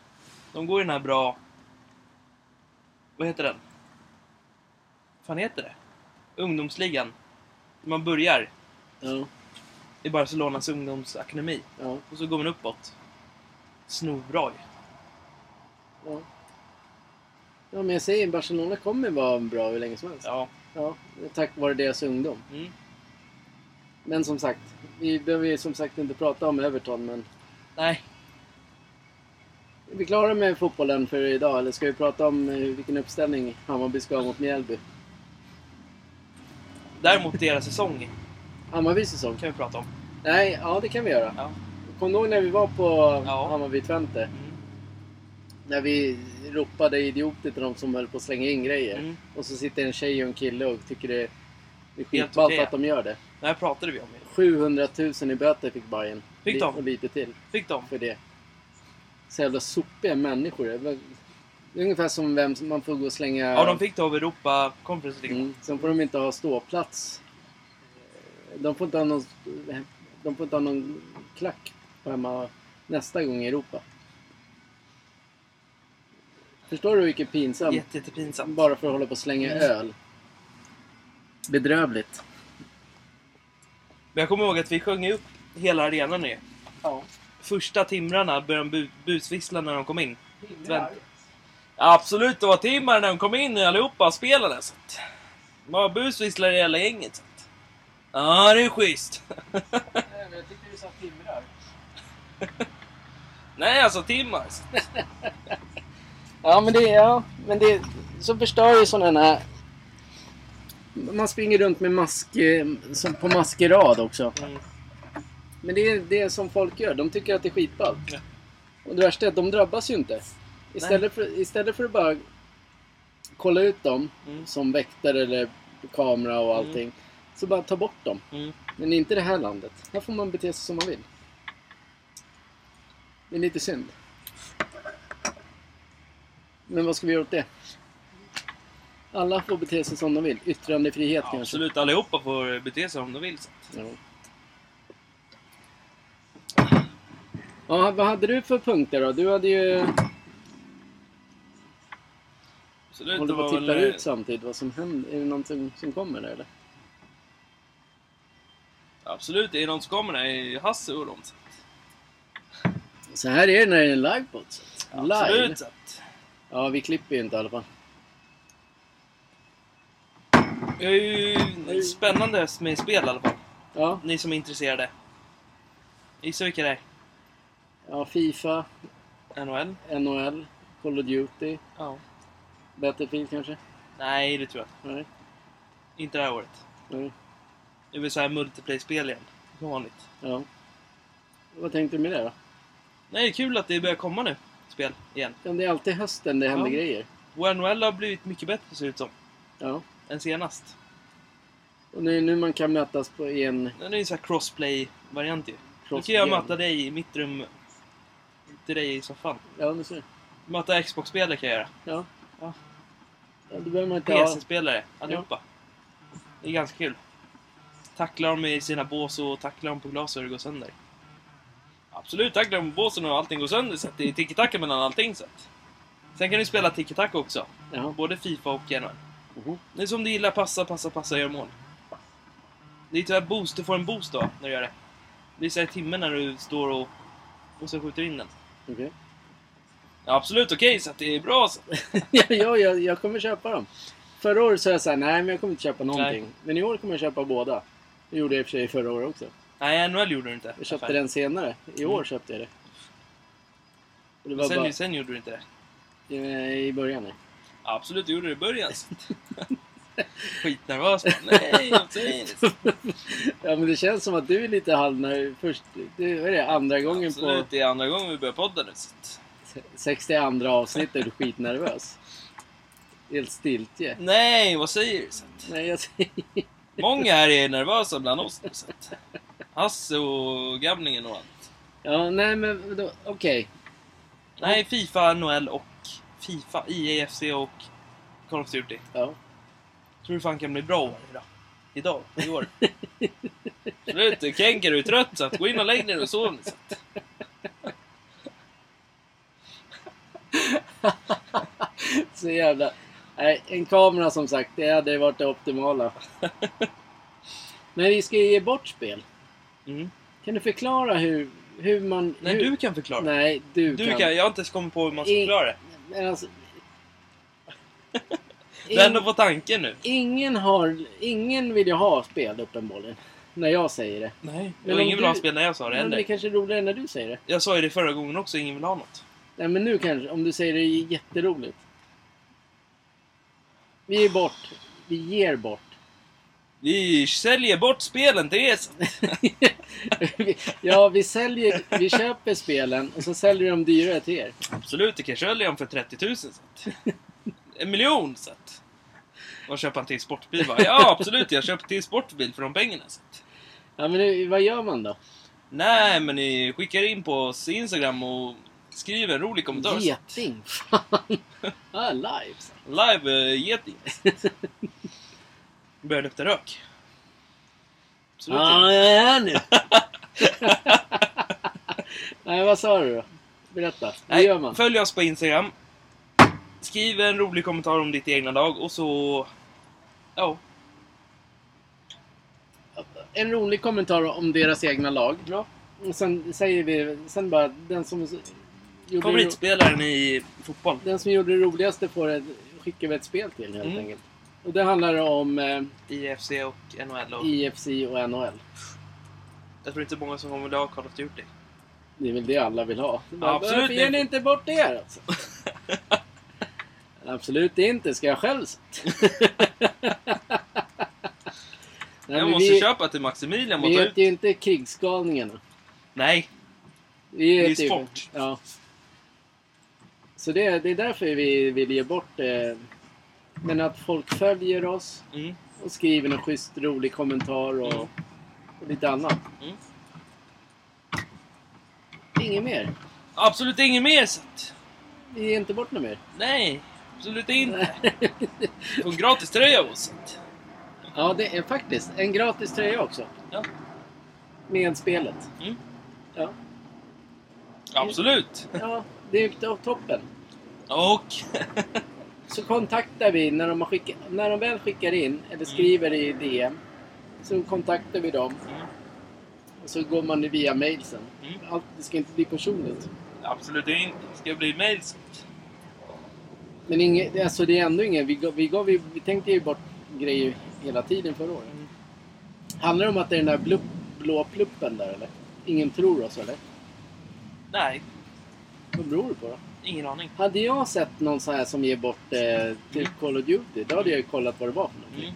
[SPEAKER 2] De går i den här bra... Vad heter den? Vad fan heter det? Ungdomsligan. Man börjar
[SPEAKER 1] Ja,
[SPEAKER 2] i Barcelonas ungdomsakademi.
[SPEAKER 1] ja,
[SPEAKER 2] Och så går man uppåt. Snorbra ju.
[SPEAKER 1] ja. Ja, men jag säger Barcelona kommer vara bra hur länge som helst.
[SPEAKER 2] Ja.
[SPEAKER 1] Ja, tack vare deras ungdom.
[SPEAKER 2] Mm.
[SPEAKER 1] Men som sagt, vi behöver ju som sagt inte prata om Everton, men
[SPEAKER 2] Nej.
[SPEAKER 1] är vi klara med fotbollen för idag eller ska vi prata om eh, vilken uppställning Hammarby ska ha mot Mjällby?
[SPEAKER 2] Däremot deras säsong
[SPEAKER 1] Hammarbys säsong?
[SPEAKER 2] kan vi prata om.
[SPEAKER 1] Nej, ja det kan vi göra.
[SPEAKER 2] Ja.
[SPEAKER 1] Kommer du ihåg när vi var på
[SPEAKER 2] Ja.
[SPEAKER 1] Hammarby Twente?
[SPEAKER 2] Mm.
[SPEAKER 1] När vi ropade idioter till de som höll på att slänga in grejer.
[SPEAKER 2] Mm.
[SPEAKER 1] Och så sitter en tjej och en kille och tycker det är skitballt
[SPEAKER 2] okej.
[SPEAKER 1] att de gör det.
[SPEAKER 2] Det här pratade vi om ju.
[SPEAKER 1] 700 000 i böter fick Bayern.
[SPEAKER 2] Fick de?
[SPEAKER 1] Och lite till.
[SPEAKER 2] Fick de?
[SPEAKER 1] för det. Så jävla sopiga människor. Det är väl- det är ungefär som vem som man får gå och slänga...
[SPEAKER 2] Ja, de fick det av Europa Conference League.
[SPEAKER 1] mm. Sen får de inte ha ståplats. Eh, De får inte ha någon, eh, de får inte ha någon klack på hemma nästa gång i Europa. Förstår du vilket pinsamt?
[SPEAKER 2] Jätte, jättepinsamt.
[SPEAKER 1] Bara för att hålla på och slänga
[SPEAKER 2] Mm.
[SPEAKER 1] öl. Bedrövligt.
[SPEAKER 2] Men jag kommer ihåg att vi sjöng upp hela arenan nu.
[SPEAKER 1] Ja.
[SPEAKER 2] Första timrarna började de bu- busvissla när de kom in. Timrar? Absolut, det var timmar när de kom in allihopa spelade. Så att. Det var busvisslar i hela gänget. Så att. Ja, det är schysst.
[SPEAKER 1] men jag tyckte du sa timrar.
[SPEAKER 2] Nej, alltså timmar. Så att.
[SPEAKER 1] Ja, men det... Ja, men det så förstör ju sådana här... Man springer runt med mask... eh, Som på maskerad också.
[SPEAKER 2] Mm.
[SPEAKER 1] Men det är det som folk gör. De tycker att det är skitballt.
[SPEAKER 2] Ja.
[SPEAKER 1] Och det värsta är att de drabbas ju inte. Istället för, istället för att bara kolla ut dem
[SPEAKER 2] Mm.
[SPEAKER 1] som väktare eller kamera och allting. Så bara ta bort dem.
[SPEAKER 2] Mm.
[SPEAKER 1] Men inte i det här landet. Här får man bete sig som man vill. Det är lite synd. Men vad ska vi göra åt det? Alla får bete sig som de vill. Yttrandefrihet
[SPEAKER 2] Ja,
[SPEAKER 1] kanske.
[SPEAKER 2] absolut, allihopa får bete sig om de vill. Så.
[SPEAKER 1] Ja.
[SPEAKER 2] att.
[SPEAKER 1] ja, vad hade du för punkter då? Du hade ju...
[SPEAKER 2] Absolut,
[SPEAKER 1] Håller
[SPEAKER 2] det
[SPEAKER 1] på och
[SPEAKER 2] var
[SPEAKER 1] tittar
[SPEAKER 2] väl...
[SPEAKER 1] ut samtidigt vad som händer. Är det någonting som kommer där eller?
[SPEAKER 2] Absolut, det är någon som kommer där. Hasse och de. så att.
[SPEAKER 1] Så här är det när det är live på ett sätt. Live.
[SPEAKER 2] Absolut. Så att.
[SPEAKER 1] Ja, vi klipper ju inte i alla fall.
[SPEAKER 2] Det är ju en spännande höst med spel i alla fall.
[SPEAKER 1] Ja,
[SPEAKER 2] Ni som är intresserade. Gissa vilka det
[SPEAKER 1] ja Fifa,
[SPEAKER 2] är? NHL?
[SPEAKER 1] NHL, Call of Duty,
[SPEAKER 2] Ja.
[SPEAKER 1] Battlefield kanske?
[SPEAKER 2] Nej, det tror jag inte.
[SPEAKER 1] Nej.
[SPEAKER 2] Inte det här året.
[SPEAKER 1] Nej.
[SPEAKER 2] Det är väl såhär multiplayer-spel igen. Som vanligt.
[SPEAKER 1] Ja. Vad tänkte du med det då?
[SPEAKER 2] Nej, det är kul att det börjar komma nu. Spel igen.
[SPEAKER 1] Ja, Det är alltid hösten det händer
[SPEAKER 2] Ja.
[SPEAKER 1] grejer.
[SPEAKER 2] Och NHL har blivit mycket bättre ser det ut som.
[SPEAKER 1] Ja.
[SPEAKER 2] Än senast.
[SPEAKER 1] Och nu, nu man kan mötas på i en
[SPEAKER 2] Det är ju såhär crossplay-variant ju. Nu kan
[SPEAKER 1] crossgen.
[SPEAKER 2] jag möta dig i mitt rum. Till dig i soffan.
[SPEAKER 1] Ja, nu ser du.
[SPEAKER 2] Möta Xbox-spelare kan jag göra.
[SPEAKER 1] Ja.
[SPEAKER 2] Ja.
[SPEAKER 1] ja då behöver man inte ha...
[SPEAKER 2] PC-spelare, allihopa. Det är ganska kul. Tackla dem i sina bås och tackla dem på glas och det går sönder. Absolut, tackla dem på båsen och allting går sönder så att det är tiki-taka mellan allting. Så att. Sen kan du spela tiki-taka också.
[SPEAKER 1] Jaha.
[SPEAKER 2] Både Fifa och NHL.
[SPEAKER 1] Mhm.
[SPEAKER 2] Det är som du gillar, passa, passa, passa, gör mål. Det är tyvärr boost, du får en boost då när du gör det. Det är såhär timmen när du står och, och så skjuter in den.
[SPEAKER 1] Okej.
[SPEAKER 2] Ja, absolut, okej, så att det är bra. Så.
[SPEAKER 1] ja, ja, jag, jag kommer köpa dem. Förra året sa jag såhär, nej men jag kommer inte köpa någonting.
[SPEAKER 2] Nej.
[SPEAKER 1] Men i år kommer jag köpa båda. Det gjorde jag i och för sig förra året också.
[SPEAKER 2] Nej, NHL gjorde du inte.
[SPEAKER 1] Jag köpte
[SPEAKER 2] Affär.
[SPEAKER 1] den senare. I år
[SPEAKER 2] Mm.
[SPEAKER 1] köpte jag det. Och det
[SPEAKER 2] Men
[SPEAKER 1] var
[SPEAKER 2] sen,
[SPEAKER 1] bara
[SPEAKER 2] sen gjorde du inte det.
[SPEAKER 1] eh, i början. där.
[SPEAKER 2] Absolut, du gjorde det i början. Skitnervös. bara, Nej, jag säger det.
[SPEAKER 1] ja men det känns som att du är lite halv när först, du, vad är det, andra gången
[SPEAKER 2] Absolut, det är andra gången vi börjar podda nu. så att-
[SPEAKER 1] på 62 avsnitt är du skitnervös. Helt stiltje.
[SPEAKER 2] Nej, vad säger du? Så att-
[SPEAKER 1] Nej jag säger
[SPEAKER 2] Många här är nervösa bland oss nu. Så att... Hasse och Gavningen och allt.
[SPEAKER 1] Ja nej men då- okej.
[SPEAKER 2] Nej, Fifa, NHL och Fifa, IAFC och Call of Duty.
[SPEAKER 1] Ja.
[SPEAKER 2] Tror du fan kan bli bra år idag? Idag? I år? Slut, Kenker, du är trött så att gå in och lägg dig och sov nu. så att-
[SPEAKER 1] Så jävla... Nej, en kamera som sagt, det hade varit det optimala. Men vi ska ju ge bort spel.
[SPEAKER 2] Mm.
[SPEAKER 1] Kan du förklara hur, hur man...
[SPEAKER 2] Nej,
[SPEAKER 1] hur...
[SPEAKER 2] du kan förklara.
[SPEAKER 1] Nej, du,
[SPEAKER 2] Du kan, jag har inte ens kommit på hur man ska
[SPEAKER 1] I-
[SPEAKER 2] förklara det.
[SPEAKER 1] Men alltså...
[SPEAKER 2] Du är ändå på tanken nu.
[SPEAKER 1] Ingen har... Ingen vill ju ha spel uppenbarligen. När jag säger det.
[SPEAKER 2] Nej.
[SPEAKER 1] Men
[SPEAKER 2] Och
[SPEAKER 1] om
[SPEAKER 2] ingen vill ha
[SPEAKER 1] du-
[SPEAKER 2] spel när jag sa det
[SPEAKER 1] Men det
[SPEAKER 2] heller.
[SPEAKER 1] kanske är roligare när du säger det.
[SPEAKER 2] Jag sa ju det förra gången också, ingen vill ha något.
[SPEAKER 1] Nej men nu kanske, om du säger det, är jätteroligt. Vi ger bort. Vi ger bort.
[SPEAKER 2] Vi säljer bort spelen till er. så att-
[SPEAKER 1] ja, vi säljer, vi köper spelen och så säljer vi dem dyrare till er.
[SPEAKER 2] Absolut, du kan sälja dem för 30 000 så att. En miljon så att. Och köpa en till sportbil va? Ja, absolut, jag köper till sportbil för de pengarna. Så att.
[SPEAKER 1] Ja, men nu, vad gör man då?
[SPEAKER 2] Nej, men ni skickar in på oss Instagram och skriver en rolig kommentar. så att-
[SPEAKER 1] Geting! Fan! Ja, live! så.
[SPEAKER 2] Live uh, geting. Börjar lukta rök. Absolut.
[SPEAKER 1] Ja, jag är här nu! Nej, vad sa du då? Berätta. Vad
[SPEAKER 2] Nej,
[SPEAKER 1] gör man?
[SPEAKER 2] Följ oss på Instagram. Skriv en rolig kommentar om ditt egna lag och så... Ja.
[SPEAKER 1] En rolig kommentar om deras egna lag.
[SPEAKER 2] Bra.
[SPEAKER 1] Och sen säger vi, sen bara, den som gjorde, det, ro-
[SPEAKER 2] Favoritspelaren i fotboll.
[SPEAKER 1] den som gjorde det roligaste får ett, skickar vi ett spel till helt
[SPEAKER 2] Mm.
[SPEAKER 1] enkelt. Och det handlar om eh,
[SPEAKER 2] IFC och NHL. Och
[SPEAKER 1] IFC och NHL.
[SPEAKER 2] Jag tror inte många som kommer vilja ha Call of Duty.
[SPEAKER 1] Det är väl det alla vill ha. Bara,
[SPEAKER 2] absolut,
[SPEAKER 1] Varför ger
[SPEAKER 2] det-
[SPEAKER 1] ni inte bort det här alltså? Absolut inte, ska jag själv sagt. Nej,
[SPEAKER 2] jag
[SPEAKER 1] men
[SPEAKER 2] måste
[SPEAKER 1] vi,
[SPEAKER 2] köpa till Maximilian och
[SPEAKER 1] vi
[SPEAKER 2] ta
[SPEAKER 1] heter
[SPEAKER 2] ut...
[SPEAKER 1] ju inte krigsgalningarna.
[SPEAKER 2] Nej,
[SPEAKER 1] Vi
[SPEAKER 2] är
[SPEAKER 1] heter ju-
[SPEAKER 2] sport.
[SPEAKER 1] Ja. Så det, det är därför vi vill ge bort det. Men att folk följer oss
[SPEAKER 2] mm.
[SPEAKER 1] och skriver en schysst rolig kommentar och,
[SPEAKER 2] Mm.
[SPEAKER 1] och lite annat.
[SPEAKER 2] Mm.
[SPEAKER 1] Inget mer.
[SPEAKER 2] absolut inget mer så att...
[SPEAKER 1] Vi ger inte bort något mer.
[SPEAKER 2] Nej, absolut inte. Får en gratis tröja av oss. så att-
[SPEAKER 1] Ja, det är faktiskt. En gratis tröja också.
[SPEAKER 2] Ja.
[SPEAKER 1] Med spelet.
[SPEAKER 2] Mm.
[SPEAKER 1] Ja.
[SPEAKER 2] Absolut.
[SPEAKER 1] ja, det är to- toppen.
[SPEAKER 2] Och...
[SPEAKER 1] Så kontaktar vi när de, har skicka, när de väl skickar in
[SPEAKER 2] Mm.
[SPEAKER 1] eller skriver i DM. Så kontaktar vi dem
[SPEAKER 2] Mm.
[SPEAKER 1] och så går man via mail sen.
[SPEAKER 2] Mm.
[SPEAKER 1] Allt, det ska inte bli personligt.
[SPEAKER 2] Absolut inte. Det ska bli mail så att...
[SPEAKER 1] Men inge, alltså det är ändå ingen... Vi, gav, vi, gav, vi, vi tänkte ju bort grejer hela tiden förra året.
[SPEAKER 2] Mm.
[SPEAKER 1] Handlar det om att det är den där blupp, blå pluppen där eller? Ingen tror oss eller?
[SPEAKER 2] Nej,
[SPEAKER 1] Vad beror det på då?
[SPEAKER 2] ingen aning.
[SPEAKER 1] Hade jag sett någon sån här som ger bort eh, till Call of Duty, då hade jag ju kollat vad det var för någonting.
[SPEAKER 2] Mm.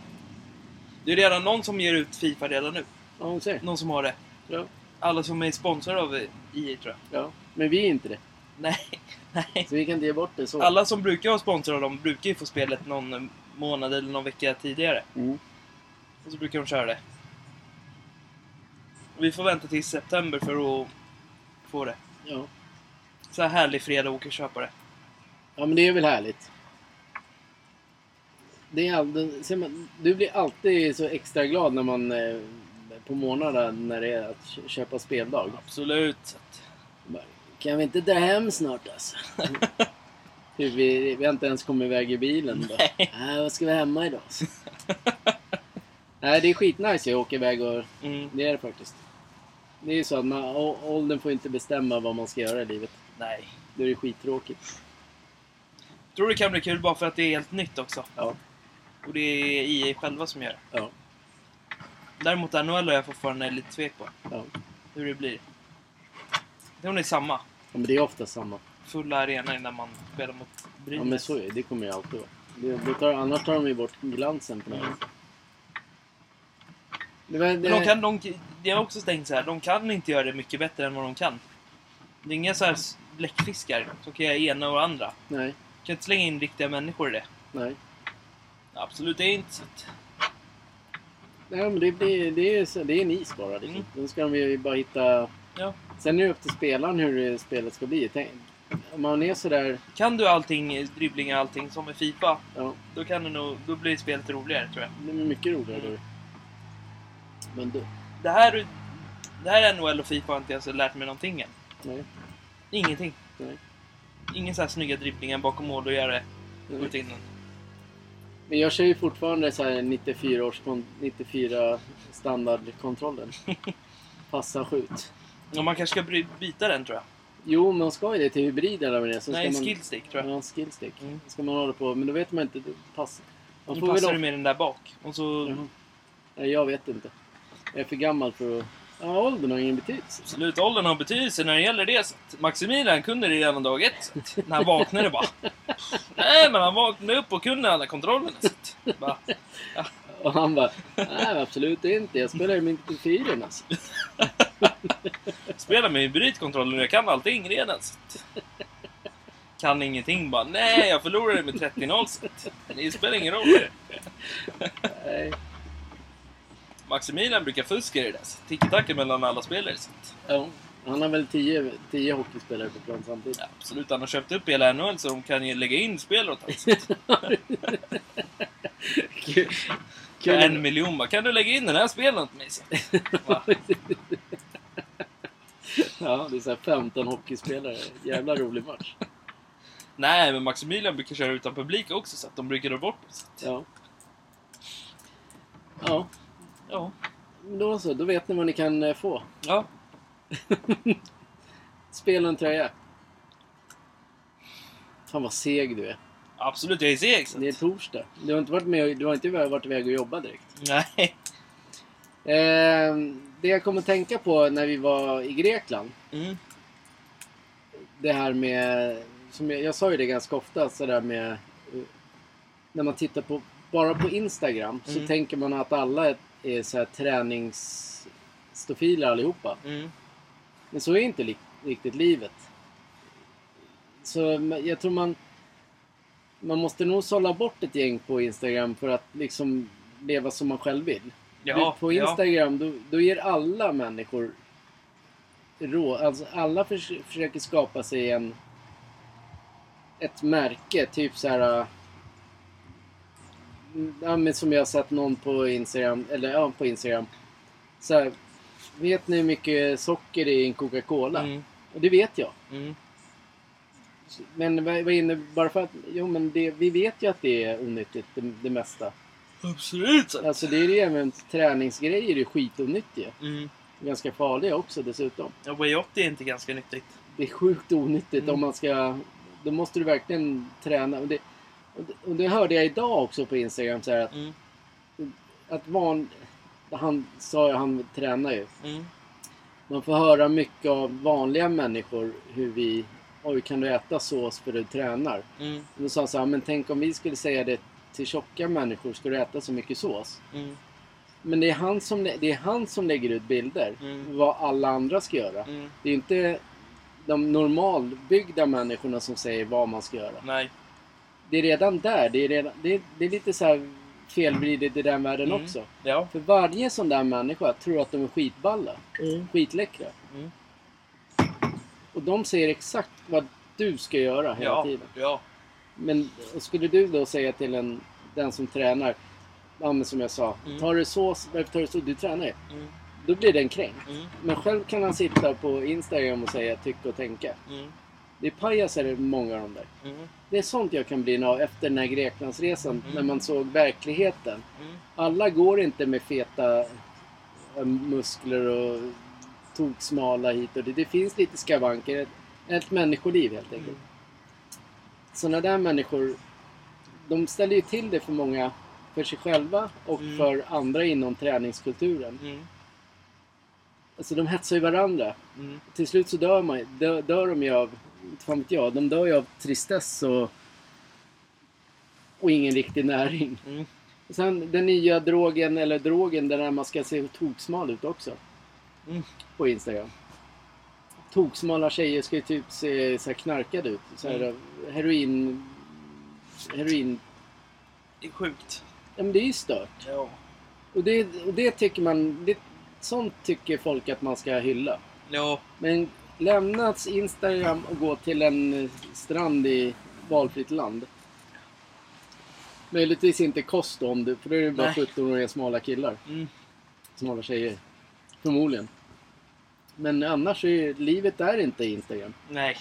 [SPEAKER 2] Det är redan någon som ger ut Fifa redan nu.
[SPEAKER 1] Ja, hon ser.
[SPEAKER 2] Någon som har det.
[SPEAKER 1] Ja.
[SPEAKER 2] Alla som är sponsrade av EA tror jag.
[SPEAKER 1] ja. Men vi är inte det.
[SPEAKER 2] Nej, nej.
[SPEAKER 1] Så vi kan inte ge bort det så.
[SPEAKER 2] Alla som brukar vara sponsrade av dem brukar ju få spelet någon månad eller någon vecka tidigare.
[SPEAKER 1] Mm.
[SPEAKER 2] Och så brukar de köra det. Vi får vänta till september för att få det.
[SPEAKER 1] Ja.
[SPEAKER 2] Så här härlig fredag och åka och köpa det.
[SPEAKER 1] ja, men det är väl härligt. Det är all... det- ser man, du blir alltid så extra glad när man eh, på månaden när det är att kö- köpa speldag.
[SPEAKER 2] Absolut. Så att-
[SPEAKER 1] Bara, Kan vi inte dra hem snart alltså? typ, vi, vi har inte ens kommit iväg i bilen. Bara, Nej, vad ska vi hemma idag? alltså?" Nej, det är skitnice att åka iväg och
[SPEAKER 2] Mm,
[SPEAKER 1] Det är det faktiskt. Det är ju så att man, å- åldern får inte bestämma vad man ska göra i livet.
[SPEAKER 2] nej.
[SPEAKER 1] Då är det skittråkigt.
[SPEAKER 2] Tror det kan bli kul bara för att det är helt nytt också.
[SPEAKER 1] Ja.
[SPEAKER 2] Och det är EA själva som gör det.
[SPEAKER 1] Ja.
[SPEAKER 2] Däremot NHL är jag fortfarande lite tvek på
[SPEAKER 1] ja.
[SPEAKER 2] hur det blir. Det är nog samma.
[SPEAKER 1] Ja, men det är ofta samma.
[SPEAKER 2] Fulla arena innan man spelar mot
[SPEAKER 1] Ja,
[SPEAKER 2] Brynäs.
[SPEAKER 1] men så är det. Det kommer ju alltid vara. Det, det tar, annars tar de ju bort glansen på något
[SPEAKER 2] Mm.
[SPEAKER 1] sätt. Det, var-
[SPEAKER 2] Men de
[SPEAKER 1] det,
[SPEAKER 2] kan, de, det har också tänkt så här, de kan inte göra det mycket bättre än vad de kan. Det är inga så här bläckfiskar som kan göra ena och andra.
[SPEAKER 1] nej,
[SPEAKER 2] Du kan inte slänga in riktiga människor i det.
[SPEAKER 1] nej.
[SPEAKER 2] Absolut, det är inte så att...
[SPEAKER 1] Nej, men det, blir, det, är, så- det är en is bara. Liksom.
[SPEAKER 2] Mm.
[SPEAKER 1] Då ska de ju bara hitta...
[SPEAKER 2] Ja.
[SPEAKER 1] Sen är det upp till spelaren hur eh, spelet ska bli. Tänk, om man är sådär...
[SPEAKER 2] Kan du allting, dribblingar allting som i Fifa,
[SPEAKER 1] Ja,
[SPEAKER 2] då kan du nog, då blir spelet roligare tror jag.
[SPEAKER 1] det blir mycket roligare då.
[SPEAKER 2] Mm.
[SPEAKER 1] Men du...
[SPEAKER 2] Det här, det här NHL och Fifa har inte jag så lärt mig någonting än.
[SPEAKER 1] Nej.
[SPEAKER 2] Ingenting.
[SPEAKER 1] Nej.
[SPEAKER 2] Ingen så här snygga dribblingar bakom mål och göra
[SPEAKER 1] Nej.
[SPEAKER 2] skjuta in den.
[SPEAKER 1] Men jag kör ju fortfarande så här 94 års 94 standardkontrollen. Passa, skjut.
[SPEAKER 2] Och man kanske ska bry- byta den tror jag.
[SPEAKER 1] Jo, man ska ju det till hybrid eller vad det är. Så
[SPEAKER 2] Nej, en
[SPEAKER 1] ska man...
[SPEAKER 2] skillstick tror jag.
[SPEAKER 1] Ja, en skillstick.
[SPEAKER 2] Mm.
[SPEAKER 1] Ska man hålla på, men då vet man inte. då Pass. Man
[SPEAKER 2] Nu
[SPEAKER 1] får Mm.
[SPEAKER 2] passar du
[SPEAKER 1] väl
[SPEAKER 2] med den där bak. Och så...
[SPEAKER 1] Jaha. Nej, jag vet inte. Jag är för gammal för att... Ja, åldern har ingen betydelse.
[SPEAKER 2] Absolut, åldern har betydelse när det gäller det. Så att Maximilian kunde det redan dag ett. så att När han vaknade bara... Nej, men han vaknade upp och kunde alla kontrollerna. så att Bara,
[SPEAKER 1] Och han bara, nej absolut inte. Jag spelar ju med 94 alltså.
[SPEAKER 2] spela med hybridkontrollen och jag kan allting redan. Så att, kan ingenting bara. Nej, jag förlorade med 30-0. Så att, Det spelar ingen roll.
[SPEAKER 1] Nej.
[SPEAKER 2] Maximilian brukar fuska i det där. så att Tiki-taka mellan alla spelare. Så att,
[SPEAKER 1] Ja. Han har väl 10 10 hockeyspelare på plan samtidigt.
[SPEAKER 2] ja, absolut, han har köpt upp hela NHL så de kan ju lägga in spelare åt honom. så att-
[SPEAKER 1] Kul.
[SPEAKER 2] För en miljon bara, kan du lägga in den här spelen åt mig? Så att, bara,
[SPEAKER 1] Ja, det är så här 15 hockeyspelare. Jävla rolig match.
[SPEAKER 2] Nej, men Maximilian brukar köra utan publik också så att de brukar dra bort det. så att-
[SPEAKER 1] Ja. Ja,
[SPEAKER 2] Ja.
[SPEAKER 1] men då så. Då vet ni vad ni kan eh, få.
[SPEAKER 2] ja.
[SPEAKER 1] Spel och en tröja. Fan vad seg du är.
[SPEAKER 2] Absolut, jag är seg. Så
[SPEAKER 1] Det är
[SPEAKER 2] att,
[SPEAKER 1] torsdag. Du har inte varit, med, du har inte varit iväg och jobbat direkt.
[SPEAKER 2] nej.
[SPEAKER 1] Eh, det jag kom att tänka på när vi var i Grekland.
[SPEAKER 2] Mm.
[SPEAKER 1] Det här med... Som jag, jag sa ju det ganska ofta. Så där med, eh, när man tittar på... Bara på Instagram så
[SPEAKER 2] Mm.
[SPEAKER 1] tänker man att alla är, är så här träningsstofiler allihopa.
[SPEAKER 2] Mm.
[SPEAKER 1] Men så är inte li- riktigt livet. Så ma- jag tror man... Man måste nog sålla bort ett gäng på Instagram för att liksom leva som man själv vill. Du,
[SPEAKER 2] Ja,
[SPEAKER 1] på Instagram, då, då ger alla människor rå... Alltså alla förs- försöker skapa sig en... Ett märke, typ så här... äh, Ja, men som jag har sett någon på Instagram, eller ja, på Instagram. Så här, vet ni hur mycket socker det är i en
[SPEAKER 2] ja.
[SPEAKER 1] Coca-Cola?
[SPEAKER 2] Mm.
[SPEAKER 1] Och det vet jag.
[SPEAKER 2] Mm.
[SPEAKER 1] Men vad vad innebär... Bara för att... Jo, men det, vi vet ju att det är onyttigt, det, det mesta.
[SPEAKER 2] Absolut. Så. att-
[SPEAKER 1] Alltså det är ju även träningsgrejer är skitonyttiga.
[SPEAKER 2] Mm.
[SPEAKER 1] Ganska farliga också dessutom.
[SPEAKER 2] Ja, Way 80 är inte ganska nyttigt.
[SPEAKER 1] Det är sjukt onyttigt
[SPEAKER 2] Mm.
[SPEAKER 1] om man ska... Då måste du verkligen träna. Och det, och det, och det hörde jag idag också på Instagram så här att,
[SPEAKER 2] Mm.
[SPEAKER 1] att van... Han sa ju, han tränar ju.
[SPEAKER 2] Mm.
[SPEAKER 1] Man får höra mycket av vanliga människor hur vi... Oj, kan du äta sås för du tränar?
[SPEAKER 2] Mm.
[SPEAKER 1] Och då sa han så här, men tänk om vi skulle säga det till tjocka människor, ska du äta så mycket sås?
[SPEAKER 2] Mm.
[SPEAKER 1] Men det är han som, lä- det är han som lägger ut bilder.
[SPEAKER 2] Mm.
[SPEAKER 1] Vad alla andra ska göra.
[SPEAKER 2] Mm.
[SPEAKER 1] Det är inte de normalbyggda människorna som säger vad man ska göra.
[SPEAKER 2] Nej.
[SPEAKER 1] Det är redan där. Det är, redan, det är, det är lite så här felvridet i den världen
[SPEAKER 2] Mm.
[SPEAKER 1] också.
[SPEAKER 2] Ja.
[SPEAKER 1] För varje sån där människa tror att de är skitballa.
[SPEAKER 2] Mm.
[SPEAKER 1] Skitläckra.
[SPEAKER 2] Mm.
[SPEAKER 1] Och de säger exakt vad du ska göra hela
[SPEAKER 2] Ja.
[SPEAKER 1] tiden.
[SPEAKER 2] Ja.
[SPEAKER 1] Men och skulle du då säga till en, den som tränar, ja, men som jag sa,
[SPEAKER 2] Mm.
[SPEAKER 1] tar du sås, varför tar du så? Du tränar ju.
[SPEAKER 2] Mm.
[SPEAKER 1] Då blir den kränkt.
[SPEAKER 2] Mm.
[SPEAKER 1] Men själv kan han sitta på Instagram och säga tycka och tänka.
[SPEAKER 2] Mm.
[SPEAKER 1] Det är pajaser många av dem där.
[SPEAKER 2] Mm.
[SPEAKER 1] Det är sånt jag kan bli när- efter den här Greklandsresan,
[SPEAKER 2] Mm.
[SPEAKER 1] när man såg verkligheten.
[SPEAKER 2] Mm.
[SPEAKER 1] Alla går inte med feta eh, muskler och toksmala hit och dit. Det finns lite skavanker. Ett, ett människoliv helt enkelt.
[SPEAKER 2] Mm.
[SPEAKER 1] Såna där människor, de ställer ju till det för många för sig själva och
[SPEAKER 2] Mm.
[SPEAKER 1] för andra inom träningskulturen.
[SPEAKER 2] Mm.
[SPEAKER 1] Alltså de hetsar ju varandra.
[SPEAKER 2] Mm.
[SPEAKER 1] Till slut så dör, man, dö, dör de ju av, inte fan vet jag, de dör ju av tristess och, och ingen riktig näring.
[SPEAKER 2] Mm.
[SPEAKER 1] Sen den nya drogen, eller drogen där man ska se toksmal ut också.
[SPEAKER 2] Mm.
[SPEAKER 1] På Instagram. Toksmala tjejer ska ju typ se så här knarkade ut. Så här,
[SPEAKER 2] Mm.
[SPEAKER 1] Heroin... Heroin...
[SPEAKER 2] Det är sjukt.
[SPEAKER 1] Ja men det är ju stört.
[SPEAKER 2] Ja.
[SPEAKER 1] Och det, och det tycker man... Det, sånt tycker folk att man ska hylla.
[SPEAKER 2] Ja.
[SPEAKER 1] Men lämnats Instagram och gå till en strand i valfritt land. Möjligtvis inte kost då, om du, för då är det bara
[SPEAKER 2] Nej.
[SPEAKER 1] 17-åriga smala killar.
[SPEAKER 2] Mm.
[SPEAKER 1] Smala tjejer. Förmodligen. Men annars är ju- livet är inte Instagram.
[SPEAKER 2] Nej.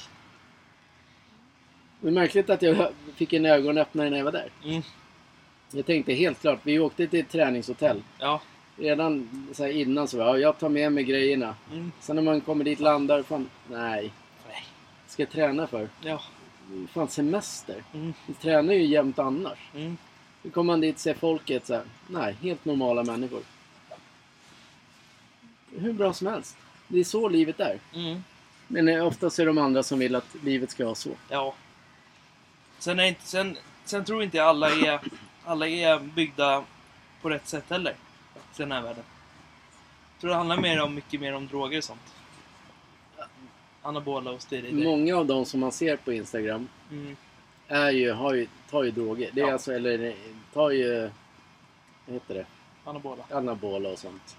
[SPEAKER 1] Det är märkligt att jag fick en ögonöppnare när jag var där.
[SPEAKER 2] Mm.
[SPEAKER 1] Jag tänkte helt klart, vi åkte till ett träningshotell.
[SPEAKER 2] Ja.
[SPEAKER 1] Redan så här innan så var jag, jag tar med mig grejerna.
[SPEAKER 2] Mm.
[SPEAKER 1] Sen när man kommer dit, landar, fan, nej.
[SPEAKER 2] Nej.
[SPEAKER 1] Ska jag träna för?
[SPEAKER 2] Ja.
[SPEAKER 1] Fan semester.
[SPEAKER 2] Mm.
[SPEAKER 1] Vi tränar ju jämt annars.
[SPEAKER 2] Mm.
[SPEAKER 1] Nu kommer man dit och ser folket så här, nej, helt normala människor. Hur bra som helst. Det är så livet är.
[SPEAKER 2] Mm.
[SPEAKER 1] Men eh, oftast är de andra som vill att livet ska vara så.
[SPEAKER 2] Ja. Sen, är inte, sen, sen tror inte jag alla är, alla är byggda på rätt sätt heller. I den här världen. Jag tror det handlar mer om, mycket mer om droger och sånt. Anabola och steroider.
[SPEAKER 1] Många av de som man ser på Instagram
[SPEAKER 2] Mm.
[SPEAKER 1] är ju, har ju, tar ju droger. Det är
[SPEAKER 2] Ja.
[SPEAKER 1] alltså, eller eh, tar ju, vad heter det,
[SPEAKER 2] Anabola.
[SPEAKER 1] anabola och sånt.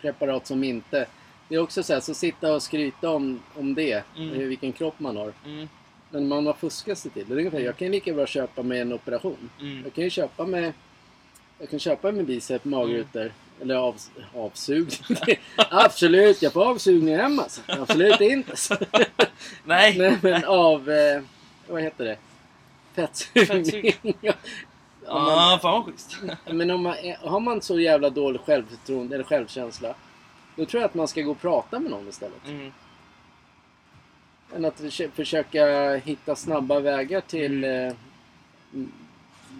[SPEAKER 1] Preparat som inte... Det är också så här, så sitta och skryta om, om det,
[SPEAKER 2] Mm.
[SPEAKER 1] hur- vilken kropp man har.
[SPEAKER 2] Mm.
[SPEAKER 1] Men man har fuskat sig till. Det är ungefär, jag kan lika bra köpa mig en operation.
[SPEAKER 2] Mm.
[SPEAKER 1] Jag kan ju köpa mig... Jag kan köpa mig bicep, magrutor.
[SPEAKER 2] Mm.
[SPEAKER 1] Eller av, avsug. Absolut, jag får avsugning hemma. alltså. Absolut inte.
[SPEAKER 2] Nej!
[SPEAKER 1] Nej men av... Eh, vad heter det? Fettsugning.
[SPEAKER 2] Fettsugning.
[SPEAKER 1] Ja, om man-
[SPEAKER 2] ah, fan vad schysst.
[SPEAKER 1] men om man, är- har man så jävla dålig självförtroende eller självkänsla då tror jag att man ska gå och prata med någon istället.
[SPEAKER 2] Mm.
[SPEAKER 1] Än att försö- försöka hitta snabba vägar till eh, m-